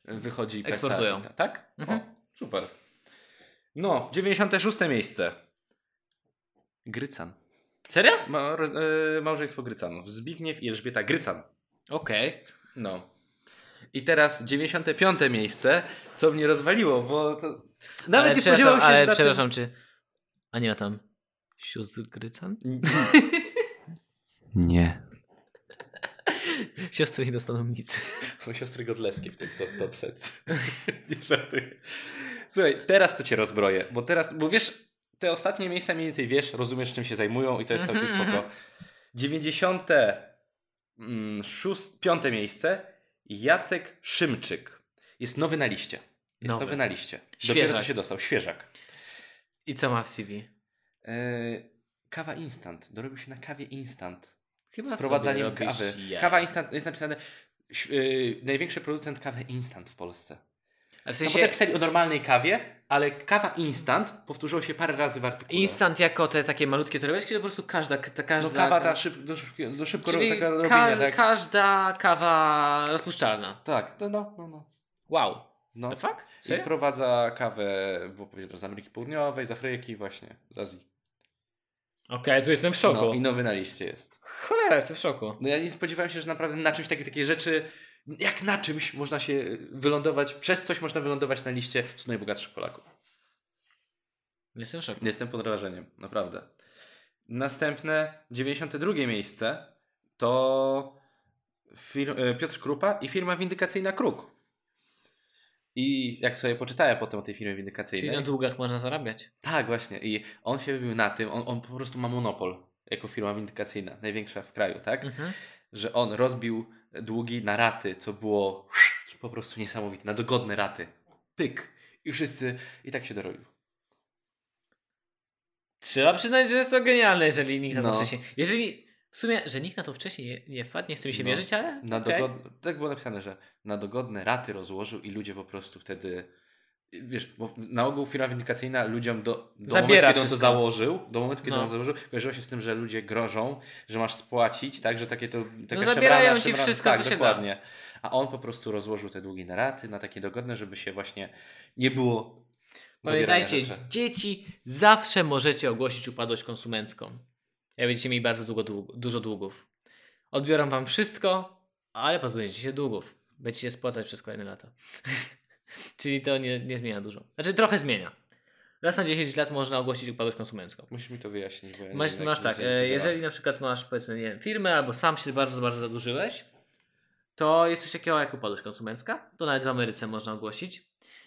wychodzi PESA.
Eksportują.
Tak?
Mhm.
O, super. No, 96 miejsce. Grycan.
Serio?
Ma, e, małżeństwo Grycanów. Zbigniew i Elżbieta Grycan.
Okej.
No. I teraz 95 miejsce, co mnie rozwaliło, bo to... Nawet
Ale
nie spodziewałem
przepraszam,
się,
ale
że na tym-
przepraszam, czy... A nie ma tam sióstr Grycan?
Nie.
Siostry nie dostaną nic.
Są siostry godleskie w tym top, top setce. Nie żartuję. Słuchaj, teraz to cię rozbroję, bo teraz, bo wiesz, te ostatnie miejsca mniej więcej wiesz, rozumiesz czym się zajmują i to jest całkiem
Mhm,
spoko.
mhm.
96, mm, piąte miejsce, Jacek Szymczyk. Jest nowy na liście. Jest
Nowy.
nowy, na liście. Dopiero
Świeżak.
co się dostał, świeżak.
I co ma w CV?
Yy, kawa instant, dorobił się na kawie instant.
Chyba
Sprowadzaniem
sobie robisz
kawy.
jaja.
Kawa instant, jest napisane, ś- yy, największy producent kawy instant w Polsce.
A w
Tam
sensie
potem No, pisali o normalnej kawie, ale kawa instant powtórzyło się parę razy w artykule.
instant jako te takie malutkie torebeczki, czy po prostu każda, ka- ta
no
każda...
kawa ta szyb, do, szybkie- do szybko ro-
Czyli
taka robienia,
ka-
tak?
każda kawa rozpuszczalna.
tak, no, no, no. no.
Wow.
no.
The fuck?
I
Serio?
sprowadza kawę, było powiedziane, z Ameryki Południowej, z Afryki właśnie, z Azji.
Okej, tu jestem w szoku.
No i nowy na liście jest.
Cholera, jestem w szoku.
No ja nie spodziewałem się, że naprawdę na czymś takiej, takiej rzeczy, jak na czymś można się y, wylądować, przez coś można wylądować na liście 100 najbogatszych Polaków.
Jestem w szoku.
Jestem pod wrażeniem, naprawdę. Następne 92 miejsce to fir- e, Piotr Krupa i firma windykacyjna Kruk. I jak sobie poczytałem potem o tej firmie windykacyjnej.
Czyli na długach można zarabiać.
Tak, właśnie. I on się wybił na tym, on, on po prostu ma monopol jako firma windykacyjna, największa w kraju, tak?
Mhm.
Że on rozbił długi na raty, co było po prostu niesamowite, na dogodne raty. Pyk. I wszyscy, i tak się dorobił.
Trzeba przyznać, że jest to genialne, jeżeli nikt na to
No.
wcześniej... Jeżeli... W sumie, że nikt na to wcześniej nie- nie wpadł, nie chce mi się
No.
wierzyć, ale
Na
okej.
dogodne, tak było napisane, że na dogodne raty rozłożył i ludzie po prostu wtedy. Wiesz, bo na ogół firma windykacyjna ludziom do, do
Zabiera
momentu, kiedy on
wszystko.
to założył, do momentu, kiedy
No.
on założył, kojarzyło się z tym, że ludzie grożą, że masz spłacić, tak, że takie to taka
No zabierają
szemrana,
ci
szemrana-
wszystko,
tak,
co się da.
dokładnie. A on po prostu rozłożył te długi na raty, na takie dogodne, żeby się właśnie nie było zabierania
Pamiętajcie,
rzeczy.
dzieci zawsze możecie ogłosić upadłość konsumencką. Ja będziecie mieli bardzo długo, dług, dużo długów. Odbiorą wam wszystko, ale pozbędziecie się długów. Będziecie spłacać przez kolejne lata. Czyli to nie, nie zmienia dużo. Znaczy trochę zmienia. Raz na 10 lat można ogłosić upadłość konsumencką.
Musisz mi to wyjaśnić. Bo ja nie
Masz,
wiem, jak
masz
to
tak,
zasadniczo
e,
działa.
jeżeli na przykład masz powiedzmy, nie wiem, firmę albo sam się bardzo, bardzo zadłużyłeś, to jest coś takiego jak upadłość konsumencka. To nawet w Ameryce można ogłosić.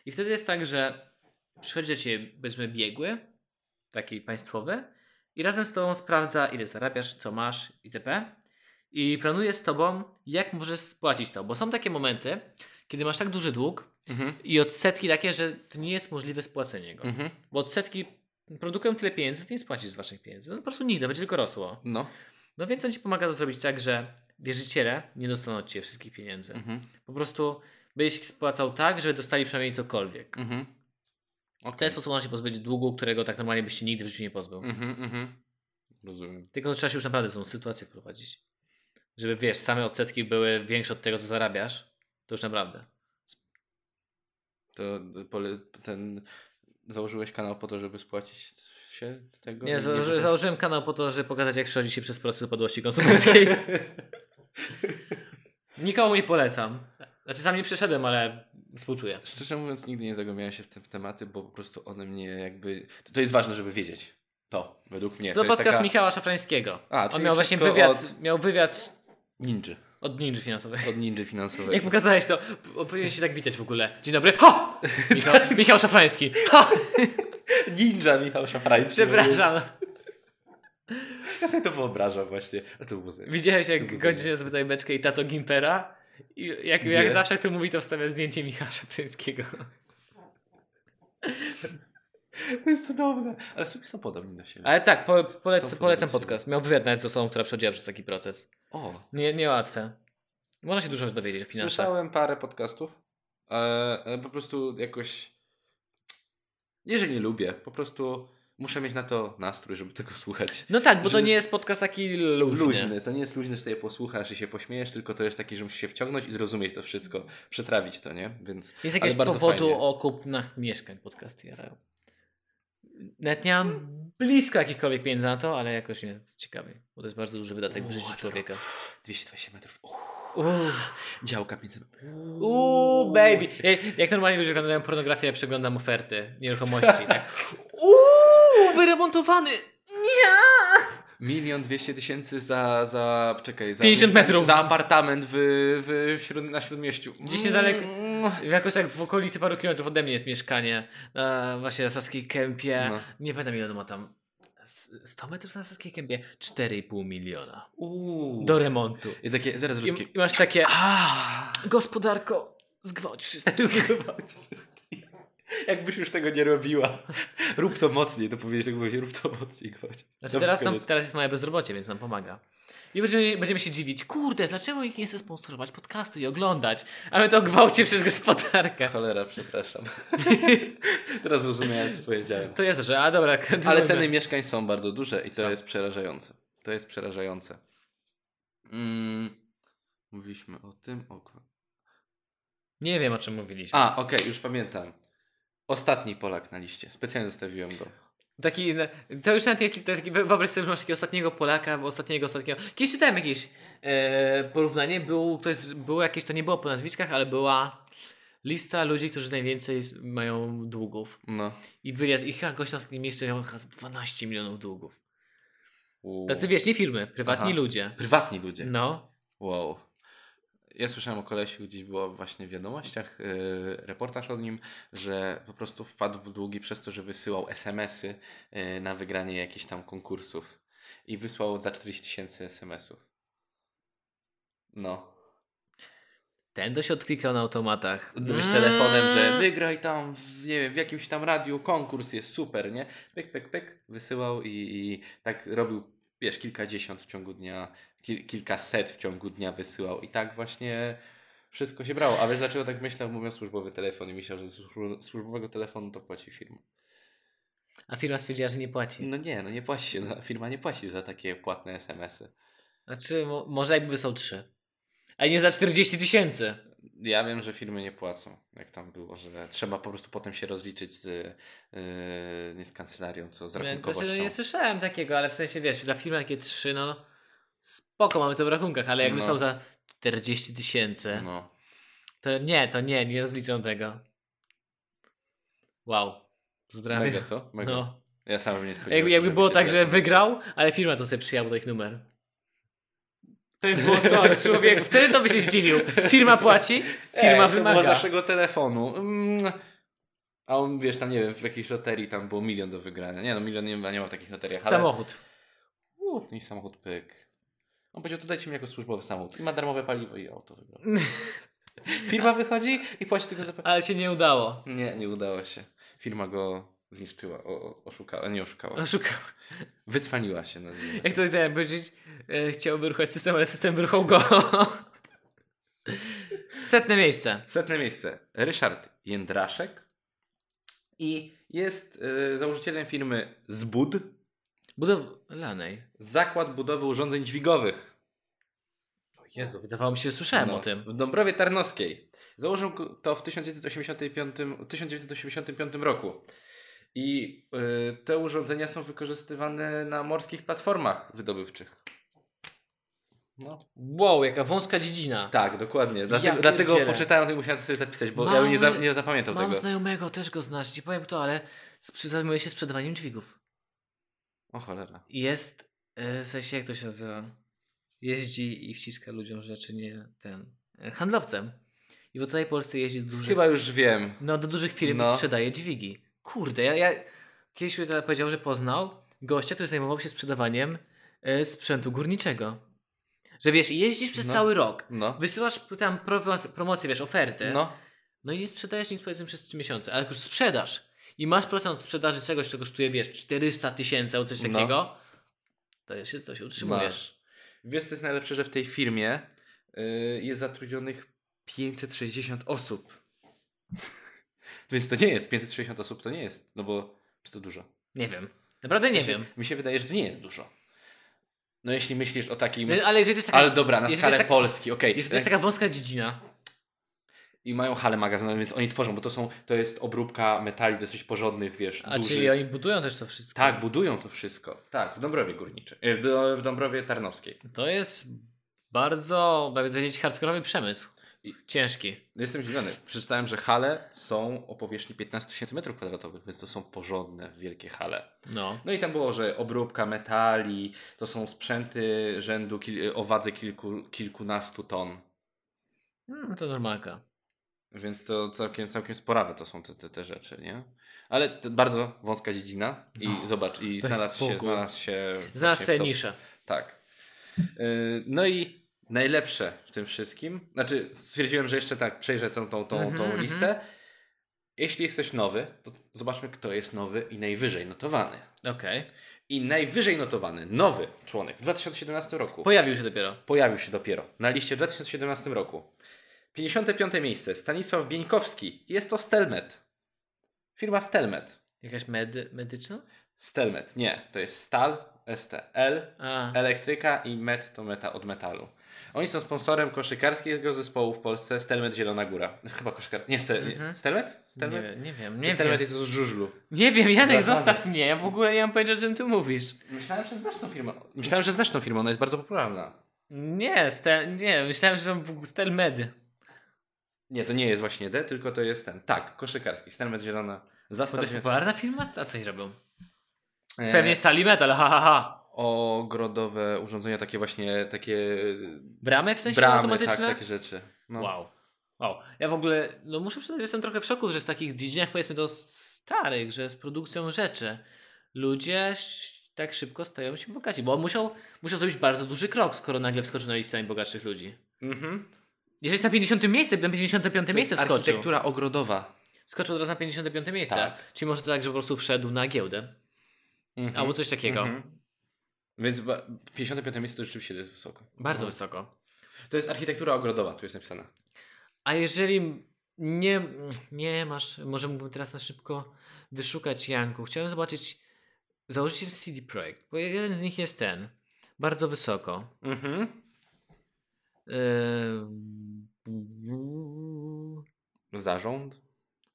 I wtedy jest tak, że przychodzi do ciebie powiedzmy biegły, taki państwowy i razem z tobą sprawdza ile zarabiasz, co masz itp. I planuje z tobą, jak możesz spłacić to. Bo są takie momenty, kiedy masz tak duży dług,
Mhm.
I odsetki takie, że to nie jest możliwe spłacenie go.
Mhm.
Bo odsetki produkują tyle pieniędzy, ty nie spłacisz z waszych pieniędzy. No po prostu nigdy, będzie tylko rosło.
No.
No więc on ci pomaga to zrobić tak, że wierzyciele nie dostaną od ciebie wszystkich pieniędzy.
Mhm.
Po prostu byś ich spłacał tak, żeby dostali przynajmniej cokolwiek.
Mhm.
W
Okay.
ten sposób można się pozbyć długu, którego tak normalnie byś się nigdy w życiu nie pozbył.
Mhm, mhm. Rozumiem.
Tylko trzeba się już naprawdę w tą sytuację wprowadzić. Żeby wiesz, same odsetki były większe od tego, co zarabiasz. To już naprawdę.
To y, pole, ten... Założyłeś kanał po to, żeby spłacić się z tego?
Nie, założy,
że-
założyłem kanał po to, żeby pokazać, jak przechodzi się przez proces upadłości konsumenckiej. Nikomu nie polecam. Znaczy, sam nie przeszedłem, ale współczuję.
Szczerze mówiąc, nigdy nie zagłębiałem się w te tematy, bo po prostu one mnie jakby. To, to jest ważne, żeby wiedzieć. To, według mnie.
To
jest
No, podcast
taka
Michała Szafrańskiego.
A,
On
czyli
miał właśnie
wszystko
wywiad,
od-
miał wywiad
Ninja.
od ninży finansowej.
Od ninja finansowego.
Jak pokazałeś to, p- powinien się tak witać w ogóle. Dzień dobry. Ho! Michał, Michał Szafrański. Ho!
Ninja Michał Szafrański.
Przepraszam.
Ja sobie to wyobrażam właśnie. A to było zajebiste.
Widziałeś,
To
jak
był
godzinę sobie tutaj beczkę i tato Gimpera? I jak, jak
Nie.
zawsze, jak to mówi, to wstawia zdjęcie Michała Szafrańskiego.
To jest cudowne. Ale w sumie są podobni do siebie.
Ale tak, po,
Są
polec, polecam
produkcje.
podcast. Miał wywiad nawet z osobą, która przechodziła przez taki proces.
O,
Nie, niełatwe. Można się dużo już dowiedzieć o finansach.
słyszałem parę podcastów. e, e, po prostu jakoś. Nie, że nie lubię. Po prostu muszę mieć na to nastrój, żeby tego słuchać.
No tak, bo to
Żeby-
nie jest podcast taki luźny.
luźny. To nie jest luźny, że sobie posłuchasz i się pośmiejesz, tylko to jest taki, że musisz się wciągnąć i zrozumieć to wszystko, przetrawić to, nie? Więc
Jest
ale
jakiegoś
bardzo
powodu
fajnie.
o kupnach mieszkań podcasty jarają. Nawet nie mam blisko jakichkolwiek pieniędzy na to, ale jakoś mnie to ciekawi, bo to jest bardzo duży wydatek tak w życiu
Ładno.
człowieka.
220 metrów. Uuu,
Uuu,
działka między...
uuu, baby. Jak- Jak normalnie ludzie oglądają pornografię, ja przeglądam oferty nieruchomości. Tak. Uuu, wyremontowany. Nie.
Milion dwieście tysięcy za, za... Czekaj, za...
50
mieszkanie-
metrów.
Za apartament w, w śród, na Śródmieściu. Mm. No.
Gdzieś niedaleko- Jakoś tak w okolicy paru kilometrów ode mnie jest mieszkanie. E, właśnie na Saskiej Kępie.
No.
Nie pamiętam ile ono ma tam. S- 100 metrów na Saskiej Kępie. 4,5 miliona.
Uuu.
Do remontu.
I takie, teraz
I,
rzucki.
I masz takie,
Aaaa!
gospodarko, zgwałć wszystko.
Zgwałć wszystkich. Jakbyś już tego nie robiła. Rób to mocniej, to powiedzieć, tak mówię, rób to mocniej, gwałć.
Znaczy teraz, nam, teraz jest moje bezrobocie, więc nam pomaga. I będziemy, będziemy się dziwić, kurde, dlaczego ich nie chce sponsorować podcastu i oglądać? A my to o gwałcie przez gospodarkę.
Cholera, przepraszam. Teraz rozumiałem, co powiedziałem.
To jest, że, a dobra.
Ale
kontynuujmy.
ceny mieszkań są bardzo duże i to
Są.
jest przerażające. To jest przerażające. Mm, mówiliśmy o tym. O... kwa-
Nie wiem, o czym mówiliśmy.
A, okej, już pamiętam. Ostatni Polak na liście. Specjalnie zostawiłem go.
Taki, no, to już nawet jest taki, wyobraź sobie, że masz takiego ostatniego Polaka, bo ostatniego, ostatniego. Kiedyś czytałem jakieś e, porównanie, był, ktoś, było jakieś, to nie było po nazwiskach, ale była lista ludzi, którzy najwięcej z- mają długów.
No.
I byli, i chyba gość na ostatnim miejscu miał chyba 12 milionów długów.
Uuu.
Tacy wiesz, nie firmy, prywatni
Aha.
ludzie.
Prywatni ludzie.
No.
Wow. Ja słyszałem o kolesiu, gdzieś było właśnie w wiadomościach, yy, reportaż o nim, że po prostu wpadł w długi przez to, że wysyłał SMS-y yy, na wygranie jakichś tam konkursów. I wysłał za 40 tysięcy SMS-ów. No.
Ten dość odklikał na automatach. Mm.
Gdybyś telefonem, że wygraj tam, w, nie wiem, w jakimś tam radiu, konkurs jest super, nie? Pyk, pyk, pyk, wysyłał i, i tak robił, wiesz, kilkadziesiąt w ciągu dnia, kil, kilkaset w ciągu dnia wysyłał i tak właśnie wszystko się brało. A wiesz dlaczego tak myślał, mówiąc służbowy telefon i myślał, że ze służb- służbowego telefonu to płaci firma.
A firma stwierdziła, że nie płaci.
No nie, no nie płaci się, no, firma nie płaci za takie płatne SMS-y.
Znaczy, mo- może jakby są trzy. A nie za 40 tysięcy.
Ja wiem, że firmy nie płacą, jak tam było, że trzeba po prostu potem się rozliczyć z, yy, nie z kancelarią, co z
To
rachunkowością.
się znaczy, no, nie słyszałem takiego, ale w sensie wiesz, dla firmy takie trzy, no spoko, mamy to w rachunkach, ale jakby
No.
są za 40 tysięcy,
No.
to nie, to nie, nie rozliczą tego. Wow. Pozdrawiam.
Mega, co? Mega.
No.
Ja sam bym nie spodziewałem
Jakby,
się,
jakby
żeby
było
się
tak, że
teraz
wygrał, ale firma to sobie przyjęła do ich numer. To by było coś, człowiek. Wtedy to by się zdziwił. Firma płaci, firma
Ej, E, To było z
wymaga.
naszego telefonu. Mm. A on, wiesz, tam nie wiem, w jakiejś loterii tam było milion do wygrania. Nie no, milion nie ma, nie ma w takich loteriach, ale...
Samochód.
U, I samochód, pyk. On powiedział, to dajcie mi jako służbowy samochód. I ma darmowe paliwo i auto wygrał. Firma wychodzi i płaci tylko za... pa-
Ale się nie udało.
Nie, nie udało się. Firma go zniszczyła, o, o, oszukała, nie oszukała.
Oszukał.
Wycwaniła się, nazwijmy.
Jak to chciałem powiedzieć? E, Chciałby ruchać system, ale system wyruchał go. Setne miejsce.
Setne miejsce. Ryszard Jędraszek i jest y, założycielem firmy Zbud,
Budowlanej.
Zakład Budowy Urządzeń Dźwigowych.
O Jezu, wydawało mi się, że słyszałem
No,
o tym.
W Dąbrowie Tarnowskiej. Założył go- to w 1985, 1985 roku. I y, te urządzenia są wykorzystywane na morskich platformach wydobywczych. No.
Wow, jaka wąska dziedzina.
Tak, dokładnie. Dlatego,
pierdzielę.
dlatego poczytałem, to musiałem sobie zapisać, bo ja
Mały-
nie, za, nie zapamiętał
Mam
tego.
znajomego, też go znasz, ci powiem to, ale sprz- zajmuje się sprzedawaniem dźwigów.
O cholera.
Jest, e, w sensie jak to się nazywa, jeździ i wciska ludziom rzeczy, nie ten, e, handlowcem. I po całej Polsce jeździ do dużych,
Chyba już wiem.
no, do dużych firm i
No.
sprzedaje dźwigi. Kurde, ja, ja kiedyś mi to powiedział, że poznał gościa, który zajmował się sprzedawaniem e, sprzętu górniczego. Że wiesz, jeździsz przez
No.
cały rok,
No.
wysyłasz tam promo- promocje, wiesz, oferty,
No.
No i nie sprzedajesz nic powiedzmy przez 3 miesiące, ale jak już sprzedasz i masz procent sprzedaży czegoś, co kosztuje, wiesz, 400 tysięcy albo coś
No.
takiego, to się, to się utrzymujesz.
Masz. Wiesz, co jest najlepsze, że w tej firmie y, jest zatrudnionych 560 osób. Więc to nie jest 560 osób, to nie jest, no bo czy to dużo?
Nie wiem. Naprawdę nie
W sensie,
wiem.
Mi się wydaje, że to nie jest dużo. No jeśli myślisz o takim,
No, Ale jeżeli to jest taka,
ale dobra, na
jeżeli
skalę
jest tak-
Polski, okej. E,
jeżeli to jest taka wąska dziedzina,
I mają halę magazynową, więc oni tworzą, bo to są, to jest obróbka metali dosyć porządnych, wiesz,
a
dużych.
czyli oni budują też to wszystko.
Tak, budują to wszystko. Tak, w Dąbrowie Górniczej, y, w, Do- w Dąbrowie Tarnowskiej.
To jest bardzo, jakby powiedzieć, hardkorowy przemysł.
I-
Ciężki.
No Jestem zdziwiony. Przeczytałem, że hale są o powierzchni 15 tysięcy metrów kwadratowych, więc to są porządne, wielkie hale.
No.
No i tam było, że obróbka metali, to są sprzęty rzędu kil- o wadze kilku, kilkunastu ton.
Mm, to normalka.
Więc to całkiem, całkiem sporawe to są te, te, te rzeczy, nie? Ale to bardzo wąska dziedzina i zobacz, i
bez
znalazł się,
Bogu.
znalazł się...
Znalazł
właśnie w
sobie
top.
niszę.
Tak. Yy, No i najlepsze w tym wszystkim, znaczy stwierdziłem, że jeszcze tak przejrzę tą, tą, tą,
Mhm,
tą
mhm.
listę. Jeśli jesteś nowy, to zobaczmy, kto jest nowy i najwyżej notowany.
Okej.
I najwyżej notowany, nowy członek w 2017 roku
Pojawił się dopiero.
pojawił się dopiero na liście w 2017 roku. 55 miejsce Stanisław Bieńkowski. Jest to Stelmet. Firma Stelmet.
Jakaś medy, medyczna?
Stelmet, nie, to jest Stal, STL,
A,
elektryka i met to meta od metalu. Oni są sponsorem koszykarskiego zespołu w Polsce Stelmet Zielona Góra. Chyba koszykarski, nie, Stel,
Mhm.
Stelmet?
nie,
Stelmet?
wiem, nie wiem.
Czy
Nie wiem.
Stelmet jest z żużlu.
Nie wiem, Janek,
Wracamy.
zostaw mnie. Ja w ogóle nie mam pojęcia, o czym tu mówisz.
Myślałem, że znasz tą firmę. Myślałem, że znasz tą firmę, ona jest bardzo popularna.
Nie, stel, nie, myślałem, że to był Stelmed.
Nie, to nie jest właśnie D, tylko to jest ten. Tak, koszykarski, Stelmet Zielona.
Bo to jest
Zastanów
popularna firma? A co oni robią?
E,
Pewnie stali metal, ha, ha, ha.
ogrodowe urządzenia, takie właśnie, takie
Bramy w sensie
bramy, tak,
automatyczne?
takie rzeczy. No.
Wow. Wow. Ja w ogóle, no muszę przyznać, że jestem trochę w szoku, że w takich dziedzinach powiedzmy to starych, że z produkcją rzeczy ludzie ś- tak szybko stają się bogaci, bo musiał, musiał zrobić bardzo duży krok, skoro nagle wskoczył na listę najbogatszych ludzi.
Mhm.
Jeżeli jest na 50 miejsce, to na 55 miejsce wskoczył.
Architektura ogrodowa.
Skoczył od razu na 55 miejsce.
Tak.
Czyli może to tak, że po prostu wszedł na giełdę.
Mhm.
Albo coś takiego.
Mhm. Więc ba- 55 miejsce to rzeczywiście jest wysoko.
Bardzo
No.
wysoko.
To jest architektura ogrodowa, tu jest napisane.
A jeżeli nie, nie masz, może mógłbym teraz na szybko wyszukać Janku. Chciałem zobaczyć założyciel CD Projekt, bo jeden z nich jest ten. Bardzo wysoko.
Mhm.
Yy...
Zarząd,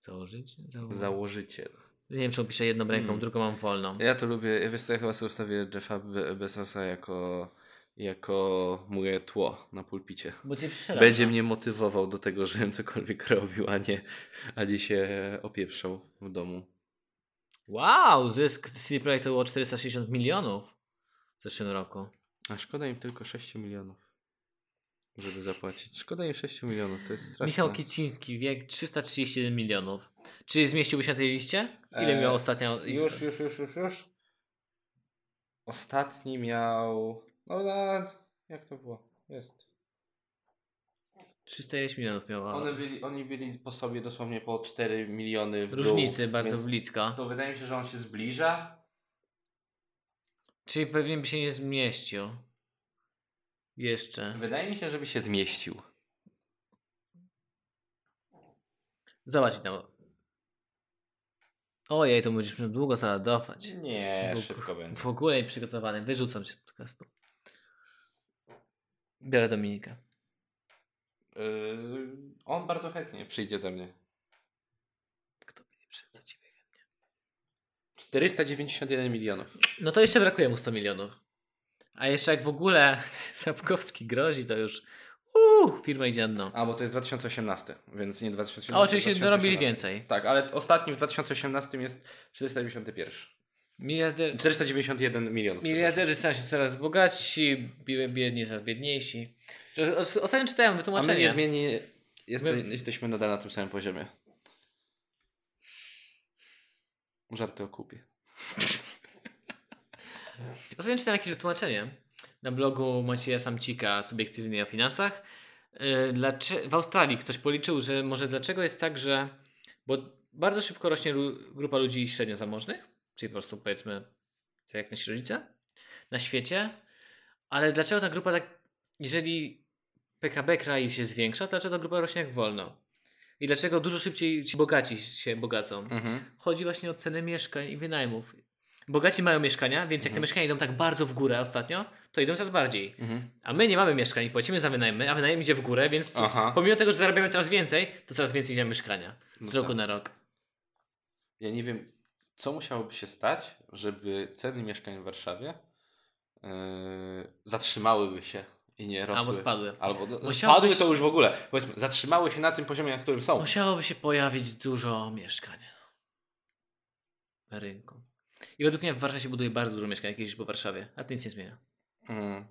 Założyć?
założyciel.
Nie wiem, czemu piszę jedną ręką,
Mm.
drugą mam wolną.
Ja to lubię, ja wiesz co, ja chyba sobie ustawię Jeffa Be- Bezosa jako, jako moje tło na pulpicie.
Bo cię przeraża.
Będzie mnie motywował do tego, żebym cokolwiek robił, a nie, a nie się opieprzał w domu.
Wow, zysk CD Projektu było 460 milionów w zeszłym roku.
A szkoda im tylko 6 milionów, żeby zapłacić. Szkoda im 6 milionów, to jest straszne.
Michał Kiciński, wiek 331 milionów. Czy zmieściłby się na tej liście? Ile
Eee,
miał ostatnio?
Już, już, już, już, już. Ostatni no, miał... No na... jak to było? Jest.
306 milionów miała.
One byli, oni byli po sobie dosłownie po 4 miliony w dół,
Różnicy bardzo
więc
bliska.
To wydaje mi się, że on się zbliża.
Czyli pewnie by się nie zmieścił. Jeszcze.
Wydaje mi się, żeby się zmieścił.
Zobacz tam. Ojej, to będziesz musiał długo zaladować.
Nie,
W-
szybko będzie.
W ogóle nieprzygotowany. Wyrzucam cię z podcastu. Biorę Dominika.
Yy, on bardzo chętnie przyjdzie ze mnie.
Kto by nie przyszedł za ciebie?
491 milionów.
No to jeszcze brakuje mu 100 milionów. A jeszcze jak w ogóle Sapkowski grozi, to już uuu, firma idzie na dno.
A, bo to jest 2018, więc nie 2017.
A oczywiście dorobili
2018.
więcej.
Tak, ale ostatni w 2018 jest 491.
Miliarder,
491 milionów.
miliarderzy stają się coraz bogatsi, bi- biedni coraz biedniejsi. Że- os- Ostatnio czytałem
A my
wytłumaczenie.
niezmiennie jeste,
My-
jesteśmy nadal na tym samym poziomie. Żarty o kupie.
Ostatnio czytałem jakieś wytłumaczenie na blogu Macieja Samcika subiektywnie o finansach. Yy, Dlaczego, w Australii ktoś policzył, że może dlaczego jest tak, że bo bardzo szybko rośnie lu- grupa ludzi średnio zamożnych, czyli po prostu powiedzmy tak jak nasi rodzice na świecie, ale dlaczego ta grupa tak, jeżeli PKB kraju się zwiększa, to dlaczego ta grupa rośnie jak wolno? I dlaczego dużo szybciej ci bogaci się bogacą? Chodzi właśnie o ceny mieszkań i wynajmów. Bogaci mają mieszkania, więc jak te
Mhm.
mieszkania idą tak bardzo w górę ostatnio, to idą coraz bardziej. A my nie mamy mieszkań, płacimy za wynajmy, a wynajem idzie w górę, więc co?
Aha.
pomimo tego, że zarabiamy coraz więcej, to coraz więcej idzie na mieszkania.
No
Z roku
tak.
na rok.
Ja nie wiem, co musiałoby się stać, żeby ceny mieszkań w Warszawie yy, zatrzymałyby się i nie rosły.
Albo spadły.
Albo no,
Musiałoby
spadły
się-
to już w ogóle. Powiedzmy, zatrzymały się na tym poziomie, na którym są.
Musiałoby się pojawić dużo mieszkań. Na rynku. I według mnie w Warszawie się buduje bardzo dużo mieszkań, jak jeździsz po Warszawie. A to nic nie zmienia.
Mm.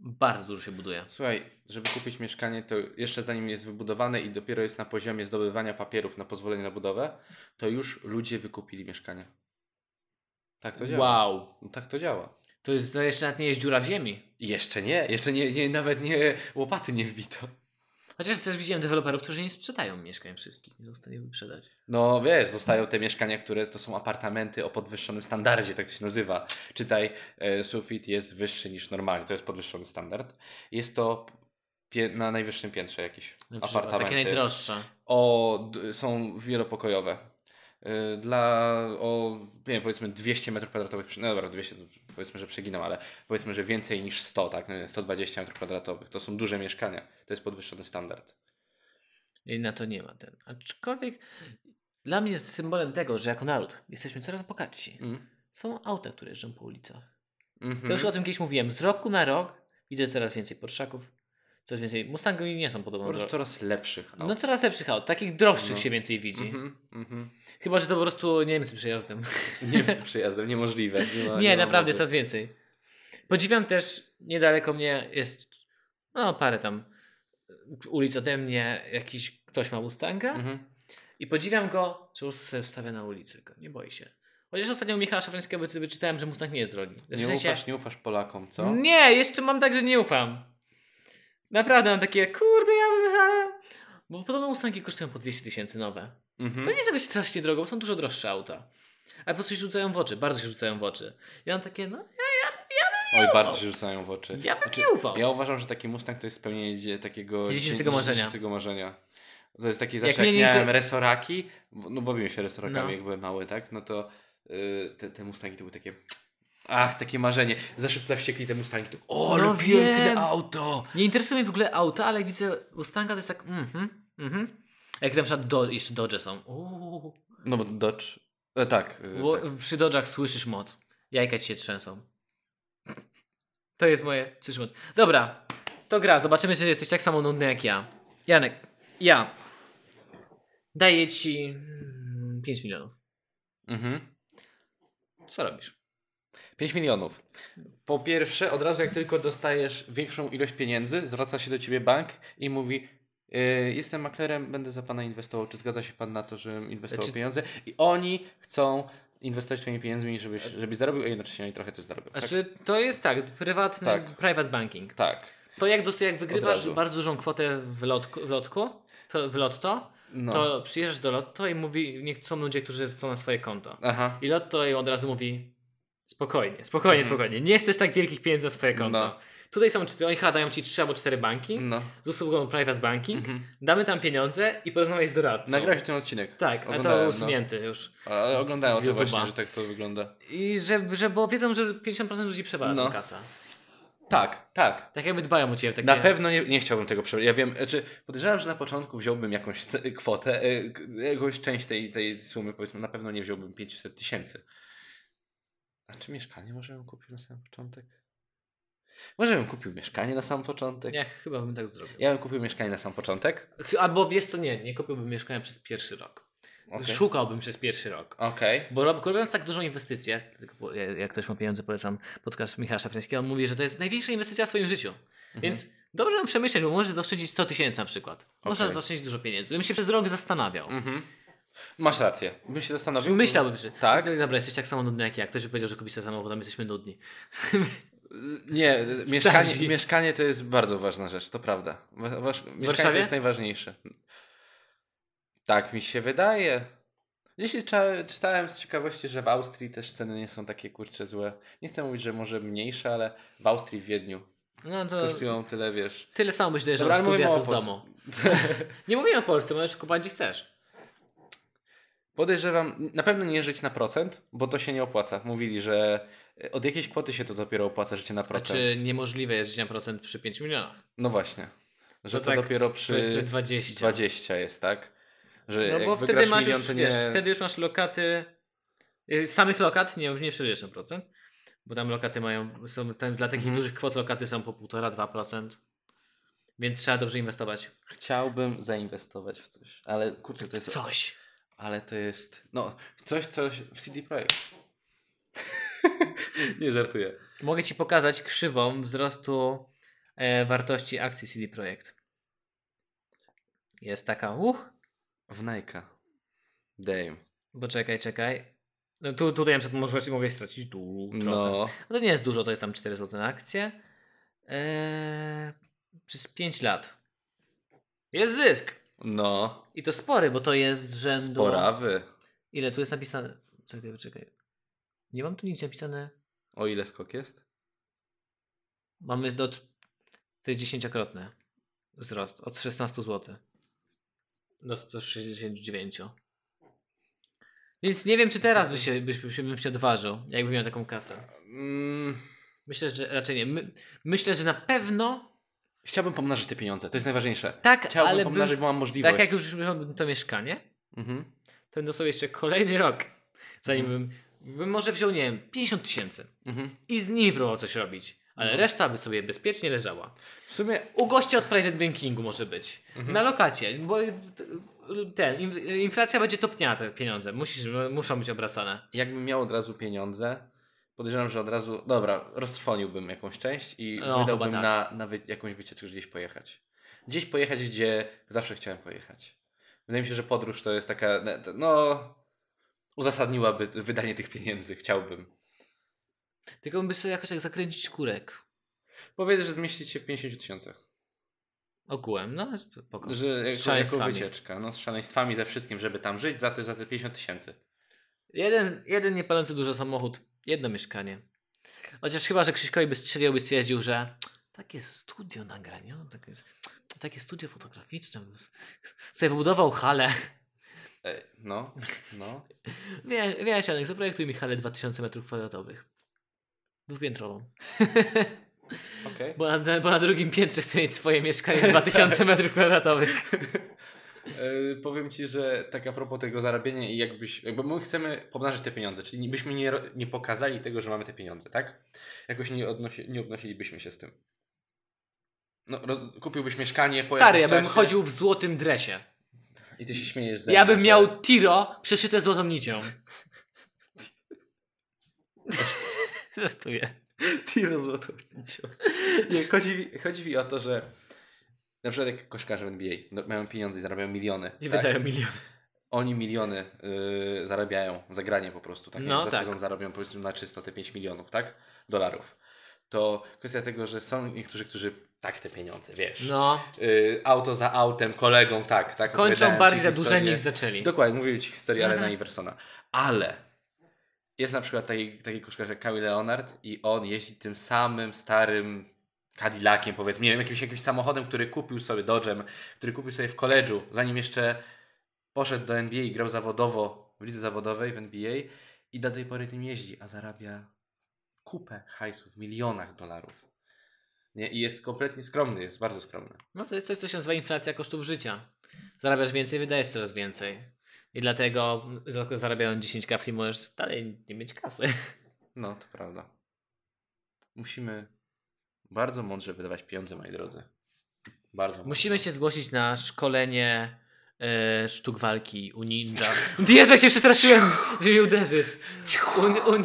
Bardzo dużo się buduje.
Słuchaj, żeby kupić mieszkanie, to jeszcze zanim jest wybudowane i dopiero jest na poziomie zdobywania papierów na pozwolenie na budowę, to już ludzie wykupili mieszkanie. Tak to działa.
Wow.
No, tak to działa.
To, jest, to jeszcze nawet nie jest dziura w ziemi.
I Jeszcze nie, jeszcze nie, nie nawet nie łopaty nie wbito.
Chociaż też widziałem deweloperów, którzy nie sprzedają mieszkań wszystkich, nie są w stanie wyprzedać.
No wiesz, zostają te mieszkania, które to są apartamenty o podwyższonym standardzie, tak to się nazywa. Czytaj, e, sufit jest wyższy niż normalnie, to jest podwyższony standard. Jest to pie- na najwyższym piętrze jakiś
Na przykład
apartamenty.
Takie najdroższe.
o, d- są wielopokojowe. Y, Dla, o, nie wiem, powiedzmy 200 metrów kwadratowych, przy- no dobra, 200, to powiedzmy, że przeginam, ale powiedzmy, że więcej niż 100, tak, no nie, 120 metrów kwadratowych. To są duże mieszkania, to jest podwyższony standard.
I na to nie ma ten. Aczkolwiek dla mnie jest symbolem tego, że jako naród jesteśmy coraz bogatsi.
Mm.
Są auta, które jeżdżą po ulicach.
Mhm.
To już o tym kiedyś mówiłem. Z roku na rok widzę coraz więcej porszaków, coraz więcej. Mustangi nie są
Po
podobno.
prostu
dro-
coraz lepszych.
No coraz lepszych aut, takich droższych
No.
się więcej widzi.
Mhm, Tak, mhm.
Chyba, że to po prostu Niemcy przejazdem.
Niemcy przyjazdem, niemożliwe. ma-
Nie,
ma
naprawdę,
mowy.
coraz więcej. Podziwiam też, niedaleko mnie jest, no parę tam e, ulic ode mnie, jakiś ktoś ma Mustanga
Mhm.
i podziwiam go, że po prostu sobie stawia na ulicy, go, nie boi się. Chociaż ostatnio u Michała Szafrańskiego wy- wyczytałem, że Mustang nie jest drogi. Znaczy, w
Nie
sensie-
ufasz, nie ufasz Polakom, co?
Nie, jeszcze mam tak, że nie ufam. Naprawdę mam takie, kurde, ja bym... Bo podobno Mustangi kosztują po 200 tysięcy nowe.
Mhm.
To nie jest jakoś strasznie drogo, bo są dużo droższe auta. Ale po prostu się rzucają w oczy, bardzo się rzucają w oczy. Ja mam takie, no
Oj, bardzo się rzucają w oczy.
Ja bym nie ufał.
Znaczy, Ja uważam, że taki Mustang to jest spełnienie dzie- takiego
Dziecięcego
dzieci-
marzenia.
dziecięcego marzenia. To jest taki zawsze,
mnie
jak,
nigdy-
miałem resoraki, bo- no bawiłem się resorakami,
No.
jak byłem mały, tak? No to y, te, te Mustangi to były takie, ach, takie marzenie. Za szybko zawściekli te Mustangi, to o, ale
No
piękne
wiem.
auto!
Nie interesuje mnie w ogóle auta, ale jak widzę Mustanga, to jest tak mhm, mhm. A Jak na przykład do, jeszcze Dodge są. Uuu.
No bo Dodge, e, tak, y,
Bo
tak.
Przy Dodge'ach słyszysz moc. Jajka ci się trzęsą. To jest moje, słyszysz moc. Dobra, to gra. Zobaczymy, czy jesteś tak samo nudny jak ja. Janek, ja daję ci 5 milionów.
Mhm.
Co robisz?
5 milionów. Po pierwsze, od razu jak tylko dostajesz większą ilość pieniędzy, zwraca się do ciebie bank i mówi: "Y, Jestem maklerem, będę za pana inwestował. Czy zgadza się pan na to, żebym inwestował
Znaczy-
pieniądze? I oni chcą inwestować twoimi pieniędzmi, żebyś, żebyś zarobił, a jednocześnie oni trochę też zarobią. Tak.
Znaczy, to jest tak, prywatny,
Tak.
private banking.
tak.
To jak, dos- jak wygrywasz
razu.
bardzo dużą kwotę w, lotku, w lotku, to, w lotto,
No.
to przyjeżdżasz do lotto i mówi, niech są ludzie, którzy są na swoje konto.
Aha.
I lotto jej od razu mówi, spokojnie, spokojnie,
Mhm.
spokojnie, nie chcesz tak wielkich pieniędzy na swoje konto.
No.
Tutaj są, czy- oni chyba dają ci trzy albo cztery banki
No.
z usługą private banking,
Mhm.
damy tam pieniądze i porozmawiaj z doradcą.
Nagrałeś ten odcinek.
Tak, ale to
Oglądałem,
usunięty już.
No. Ale
z-
oglądałem
z
o tym właśnie,
YouTube'a.
że tak to wygląda.
I że, że bo wiedzą, że 50% ludzi przewala
No.
no. kasa.
Tak, tak.
Tak jakby dbają o ciebie. Takie...
Na pewno nie, nie chciałbym tego przebrać. Ja wiem, znaczy podejrzewam, że na początku wziąłbym jakąś ce- kwotę, e, k- jakąś część tej, tej sumy, powiedzmy, na pewno nie wziąłbym 500 tysięcy. A czy mieszkanie może bym kupił na sam początek? Może bym kupił mieszkanie na sam początek?
Ja chyba bym tak zrobił.
Ja bym kupił mieszkanie na sam początek.
Ch- Albo wiesz co, nie, nie kupiłbym mieszkania przez pierwszy rok.
Okej.
Szukałbym przez pierwszy rok.
Okej.
Bo rob- robiąc tak dużą inwestycję, tylko po- ja- jak ktoś ma pieniądze, polecam podcast Michała Szafrańskiego, on mówi, że to jest największa inwestycja w swoim życiu.
Mhm.
Więc dobrze bym przemyśleć, bo możesz zaoszczędzić 100 tysięcy na przykład. Można
Okej.
zaoszczędzić dużo pieniędzy. Bym się przez rok zastanawiał.
Mhm. Masz rację. Bym się zastanowił.
Myślałbym, że
Tak?
dobra, jesteś tak samo nudny jak ja. Ktoś by powiedział, że kupisz ten samochód, a my jesteśmy nudni.
Nie, mieszkanie,
Starzy.
mieszkanie to jest bardzo ważna rzecz, to prawda. Wa- wasz- mieszkanie to
Warszawie?
jest najważniejsze. Tak mi się wydaje. Dzisiaj cza- czytałem z ciekawości, że w Austrii też ceny nie są takie kurcze złe. Nie chcę mówić, że może mniejsze, ale w Austrii, w Wiedniu
No to
kosztują tyle, wiesz.
tyle samo myślę, że
Dobra,
od
ale mówimy
studia
o
co z
Polsce.
domu. Nie mówimy o Polsce, możesz kupować gdzie chcesz.
Podejrzewam, na pewno nie żyć na procent, bo to się nie opłaca. Mówili, że e, od jakiejś kwoty się to dopiero opłaca życie na procent.
Znaczy niemożliwe jest życie na procent przy 5 milionach.
No właśnie. Że
To
to,
tak,
dopiero przy
Powiedzmy 20.
20 jest, tak? Że
No
jak
bo wtedy
wygrasz
masz
milion,
już,
to nie...
wiesz, wtedy już masz lokaty, y, samych lokat, nie, nie przeżyjesz na procent, bo tam lokaty mają, są, tam dla takich
Mhm.
dużych kwot lokaty są po 1,5-2%, więc trzeba dobrze inwestować.
Chciałbym zainwestować w coś, ale kurczę, to jest...
Coś.
Ale to jest... No, coś, coś w CD Projekt. nie żartuję.
Mogę Ci pokazać krzywą wzrostu e, wartości akcji CD Projekt. Jest taka, uch,
W Nike'a. Damn.
bo czekaj, czekaj. No tu, tutaj na przykład możesz, mogę stracić tu trochę. No.
No.
to nie jest dużo, to jest tam 4 zł na akcję. E, przez 5 lat. Jest zysk.
No.
I to spory, bo to jest z rzędu...
Sporawy.
Ile tu jest napisane? Czekaj, czekaj. Nie mam tu nic napisane.
O ile skok jest?
Mamy do... To jest dziesięciokrotny wzrost. Od 16 zł. Do 169. Więc nie wiem, czy teraz by się, byś, byś, bym się odważył, jakbym miał taką kasę.
Mm,
Myślę, że raczej nie. My, myślę, że na pewno
chciałbym pomnażyć te pieniądze, to jest najważniejsze.
tak,
Chciałbym
ale
pomnażyć,
bym,
bo mam możliwość.
tak jak już miałbym to mieszkanie,
Mhm.
to będę sobie jeszcze kolejny rok, zanim bym, bym może wziął, nie wiem, 50 tysięcy
Mhm.
i z nimi próbował coś robić, ale reszta by sobie bezpiecznie leżała.
W sumie
U gościa od private bankingu może być. Na lokacie, bo t- ten, im- inflacja będzie topniała te pieniądze, Musisz, muszą być obracane.
jakbym miał od razu pieniądze, podejrzewam, że od razu, dobra, roztrwoniłbym jakąś część i
No,
wydałbym
chyba
na, na wy, jakąś wycieczkę gdzieś pojechać. Gdzieś pojechać, gdzie zawsze chciałem pojechać. Wydaje mi się, że podróż to jest taka, ne- t- no, uzasadniłaby wydanie tych pieniędzy, chciałbym.
Tylko by sobie jakoś tak zakręcić kurek
Powiedz, że zmieścić się w 50 tysiącach.
ogółem, no spoko.
Że jako, jako
szaleństwami.
wycieczka, no z szaleństwami, ze wszystkim, żeby tam żyć, za te, za te 50 tysięcy.
Jeden, jeden niepalący dużo samochód, jedno mieszkanie. Chociaż chyba, że Krzyśkowi by strzelił, by stwierdził, że takie studio nagrania, no, takie, takie studio fotograficzne, bym s- sobie wybudował halę.
E, No, no.
Wie, wiesz, Janek, zaprojektuj mi halę 2000 m2. Dwupiętrową.
Okej.
Bo na, bo na drugim piętrze chcę mieć swoje mieszkanie 2000 m2.
E, Powiem Ci, że tak a propos tego zarabiania i jakbyś, jakby my chcemy pomnażać te pieniądze, czyli byśmy nie, ro- nie pokazali tego, że mamy te pieniądze, tak? Jakoś nie, odnosi, nie obnosilibyśmy się z tym. No, roz, kupiłbyś mieszkanie po
Stary, ja
jakimś
bym
czasie
chodził w złotym dresie.
I Ty się śmiejesz ze
Ja
mnie,
bym
że-
miał tiro przeszyte złotą nicią. Żartuję.
tiro złotowniczo. Nie, chodzi, mi- chodzi mi o to, że na przykład jak koszkarze w NBA no, mają pieniądze i zarabiają miliony.
Nie
tak?
wydają miliony.
Oni miliony y, zarabiają za granie po prostu. Tak?
No,
jak za
tak.
sezon zarobią powiedzmy na czysto te 5 milionów, tak? Dolarów. to kwestia tego, że są niektórzy, którzy tak te pieniądze, wiesz.
No,
Y, auto za autem, kolegą, tak, tak. opowiadałem
kończą
ci
bardziej za duże
historię.
niż zaczęli.
Dokładnie, mówili ci historię
Mhm.
Alena Iversona. Ale jest na przykład taki, taki koszkarz jak Kamil Leonard i on jeździ tym samym starym Cadillaciem, powiedzmy, nie wiem, jakimś, jakimś samochodem, który kupił sobie, Dodge'em, który kupił sobie w koledżu, zanim jeszcze poszedł do NBA i grał zawodowo w lidze zawodowej, w NBA i do tej pory tym jeździ, a zarabia kupę hajsu w milionach dolarów. Nie? I jest kompletnie skromny, jest bardzo skromny.
No to jest coś, co się nazywa inflacja kosztów życia. Zarabiasz więcej, wydajesz coraz więcej. I dlatego mm, za- zarabiając 10 kafli możesz dalej nie mieć kasy.
No, to prawda. Musimy bardzo mądrze wydawać pieniądze, moi drodzy. Bardzo mądrze.
Musimy się zgłosić na szkolenie e, sztuk walki u ninja. Jezu, jak się przestraszyłem, że mnie uderzysz. U, u,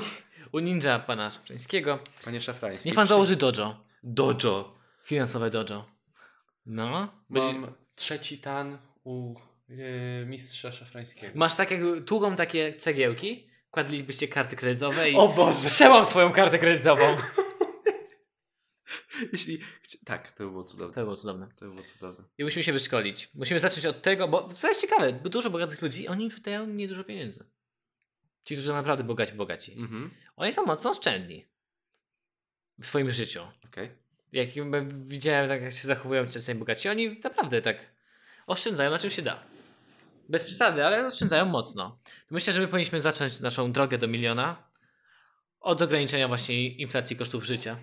u ninja pana Szafrańskiego.
Panie Szafrański.
Niech pan
przy-
założy dojo.
dojo.
Finansowe dojo. No. Będzie-
Mam trzeci tan u yy, mistrza Szafrańskiego.
Masz tak jak tługą takie cegiełki, kładlibyście karty kredytowe i...
O Boże!
Przełam swoją kartę kredytową.
Jeśli... chci- Tak, to by było cudowne.
To było cudowne.
To by było cudowne.
I musimy się wyszkolić. Musimy zacząć od tego, bo co jest ciekawe, bo dużo bogatych ludzi, oni wydają niedużo pieniędzy. Ci, którzy są naprawdę bogaci, bogaci.
Mhm.
Oni są mocno oszczędni. W swoim życiu.
Okej.
Jak widziałem, tak jak się zachowują czasami bogaci, oni naprawdę tak oszczędzają na czym się da. Bez przesady, ale oszczędzają mocno. To myślę, że my powinniśmy zacząć naszą drogę do miliona od ograniczenia właśnie inflacji kosztów życia.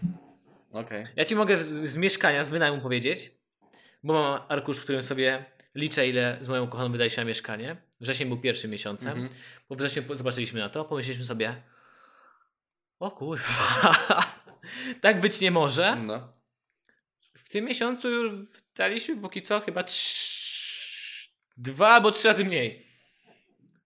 Okej.
Ja ci mogę z, z mieszkania, z wynajmu powiedzieć, bo mam arkusz, w którym sobie liczę, ile z moją kochaną wydaliśmy na mieszkanie. Wrzesień był pierwszym miesiącem.
Mhm.
Po wrześniu po- zobaczyliśmy na to, pomyśleliśmy sobie, o kurwa, tak być nie może.
No.
W tym miesiącu już wydaliśmy póki co chyba trz... dwa albo trzy razy mniej.
Tak.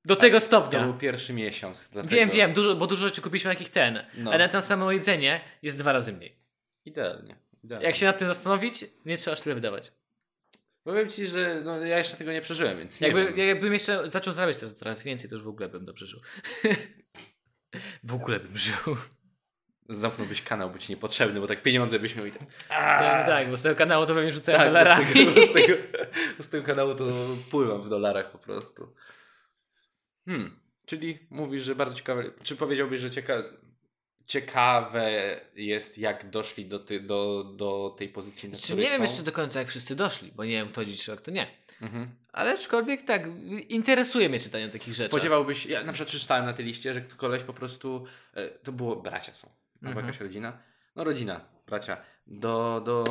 Do tego
To
stopnia.
był pierwszy miesiąc. Dlatego...
Wiem, wiem, dużo, bo dużo rzeczy kupiliśmy takich ten,
No.
ale na samo jedzenie jest dwa razy mniej.
Idealnie. Idealnie.
Jak się nad tym zastanowić, nie trzeba aż tyle wydawać.
Powiem ci, że no, ja jeszcze tego nie przeżyłem, więc nie
Jakby,
wiem.
jakbym jeszcze zaczął zarabiać teraz, teraz więcej, to już w ogóle bym dobrze żył. w ogóle bym żył.
Zamknąłbyś kanał, by ci niepotrzebny, bo tak pieniądze byś miał i tak...
Tak, tak, bo z tego kanału to pewnie rzucałem
Tak,
dolarami.
bo z, tego, z, tego, z tego kanału to pływam w dolarach po prostu. Hmm. Czyli mówisz, że bardzo ciekawe. Czy powiedziałbyś, że cieka, ciekawe jest, jak doszli do, ty, do, do tej pozycji, na
Czy
której
Znaczy, nie wiem
są?
jeszcze do końca, jak wszyscy doszli, bo nie wiem, kto dziś rok, to nie.
Mhm.
Ale aczkolwiek tak, interesuje mnie czytanie takich rzeczy.
Spodziewałbyś, ja na przykład przeczytałem na tej liście, że koleś po prostu, e, to było bracia są, albo
Mhm.
jakaś rodzina, no rodzina, bracia, do, do,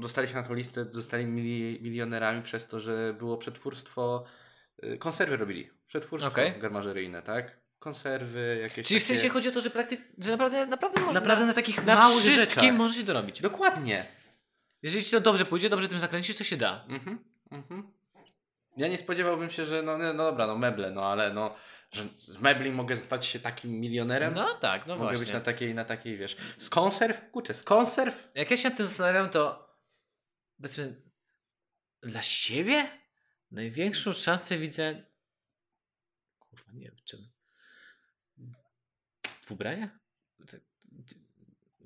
dostali się na tą listę, zostali mili, milionerami przez to, że było przetwórstwo, y, konserwy robili, przetwórstwo
Okej.
garmażeryjne, tak? Konserwy, jakieś
Czyli w
takie-
sensie chodzi o to, że, prakty- że naprawdę, naprawdę można.
Naprawdę na takich
na
małych
wszystkim
rzeczach.
może się dorobić.
Dokładnie.
Jeżeli ci to dobrze pójdzie, dobrze tym zakręcisz, to się da.
Mhm, mhm. Ja nie spodziewałbym się, że no, no dobra, no meble, no ale no, że z mebli mogę stać się takim milionerem.
No tak, no
Mogę
właśnie.
być na takiej, na takiej, wiesz. Z konserw? Kurczę, z konserw?
Jak ja się nad tym zastanawiam, to powiedzmy dla siebie największą szansę widzę kurwa, nie wiem w czym w ubraniach? Te- te-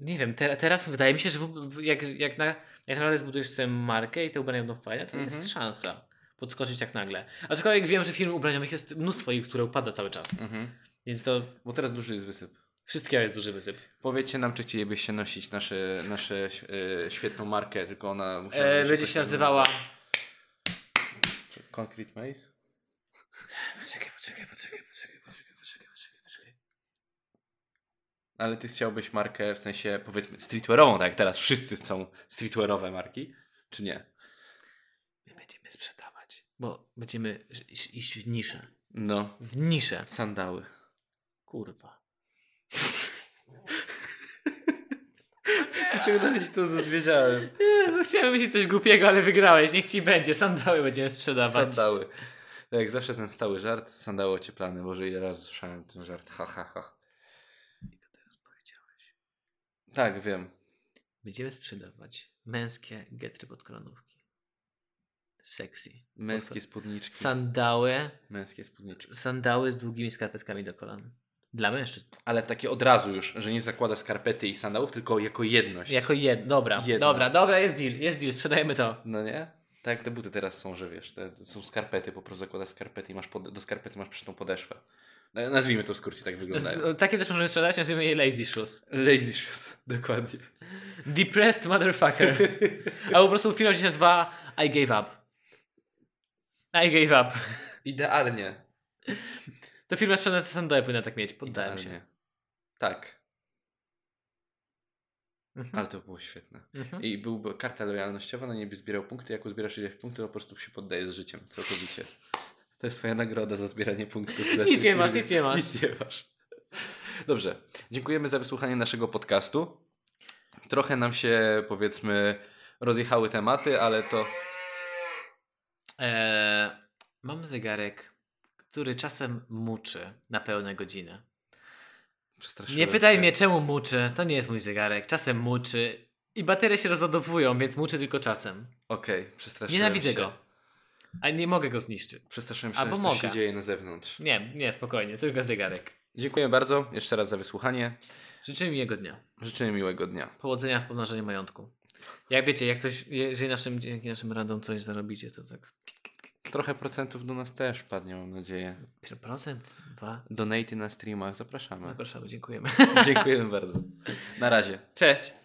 Nie wiem, te, teraz wydaje mi się, że w, w- jak, jak, na, jak naprawdę zbudujesz sobie markę i te ubrania będą fajne, to
Mhm.
jest szansa podskoczyć tak nagle. Aczkolwiek wiem, że firm ubraniowych jest mnóstwo i które upada cały czas,
Mhm.
więc to
Bo teraz duży jest wysyp.
wszystkiego jest duży wysyp.
Powiedzcie nam, czy chcielibyście nosić nasze, nasze e, świetną markę, tylko ona musiała...
E,
być
będzie
jakoś
się
tam
nazywała...
nazywać. Concrete Maze?
Poczekaj, poczekaj, poczekaj, poczekaj, poczekaj, poczekaj, poczekaj, poczekaj.
Ale ty chciałbyś markę w sensie, powiedzmy, streetwearową, tak jak teraz wszyscy chcą streetwearowe marki, czy nie?
My będziemy sprzedawać, bo będziemy iść- iść w niszę.
No,
W niszę.
sandały.
Kurwa.
Wyciągnąłem ci to, co wiedziałem.
Jezu, chciałem myśleć coś głupiego, ale wygrałeś. Niech ci będzie. Sandały będziemy sprzedawać.
Sandały. Tak, jak zawsze ten stały żart, sandały ocieplane. Boże, ile razy słyszałem ten żart. Ha, ha, ha. Tak, wiem.
Będziemy sprzedawać męskie getry pod kolanówki. Sexy.
Męskie spódniczki.
Sandały.
Męskie spódniczki.
Sandały z długimi skarpetkami do kolan. Dla mężczyzn.
Ale takie od razu już, że nie zakłada skarpety i sandałów, tylko jako jedność.
Jako jed... Dobra,
Jedna.
dobra, dobra, jest deal, jest deal, sprzedajemy to.
No nie? Tak jak te buty teraz są, że wiesz, te, są skarpety, po prostu zakładasz skarpety i masz pod, do skarpety masz przytą podeszwę. No, Nazwijmy to w skrócie, tak wyglądają.
Z, takie też możemy sprzedać, nazwijmy je lazy shoes.
Lazy shoes, dokładnie.
Depressed motherfucker. Albo po prostu film się nazywa I gave up. I gave up.
Idealnie.
To firma sprzedająca sandały powinna tak mieć, poddałem się.
Idealnie. Tak,
Mhm.
ale to było świetne.
Mhm.
I byłby karta lojalnościowa, na niebie zbierał punkty, jak uzbierasz ileś punktów, to po prostu się poddajesz z życiem całkowicie. To jest twoja nagroda za zbieranie punktów. w naszej
Nic nie masz,
firmie.
nic nie masz.
Nic nie masz. Dobrze. Dziękujemy za wysłuchanie naszego podcastu. Trochę nam się, powiedzmy, rozjechały tematy, ale to...
Eee, mam zegarek, który czasem muczy na pełne godziny.
Przestraszyłem
Nie pytaj
się.
mnie, czemu muczy. To nie jest mój zegarek. Czasem muczy. I baterie się rozładowują, więc muczy tylko czasem.
Okej, przestraszyłem
Nienawidzę
się.
go. A nie mogę go zniszczyć.
Przestraszyłem się,
Albo
że coś
mogę.
się dzieje na zewnątrz.
Nie, nie, spokojnie, tylko zegarek.
Dziękuję bardzo jeszcze raz za wysłuchanie.
Życzę mi jego dnia.
Życzymy miłego dnia.
Powodzenia w pomnażaniu majątku. Jak wiecie, jak coś, jeżeli naszym, dzięki naszym radom coś zarobicie, to tak
Trochę procentów do nas też wpadnie, mam nadzieję.
procent, dwa.
Donaty na streamach zapraszamy.
Zapraszamy, dziękujemy.
Dziękujemy bardzo. Na razie.
Cześć!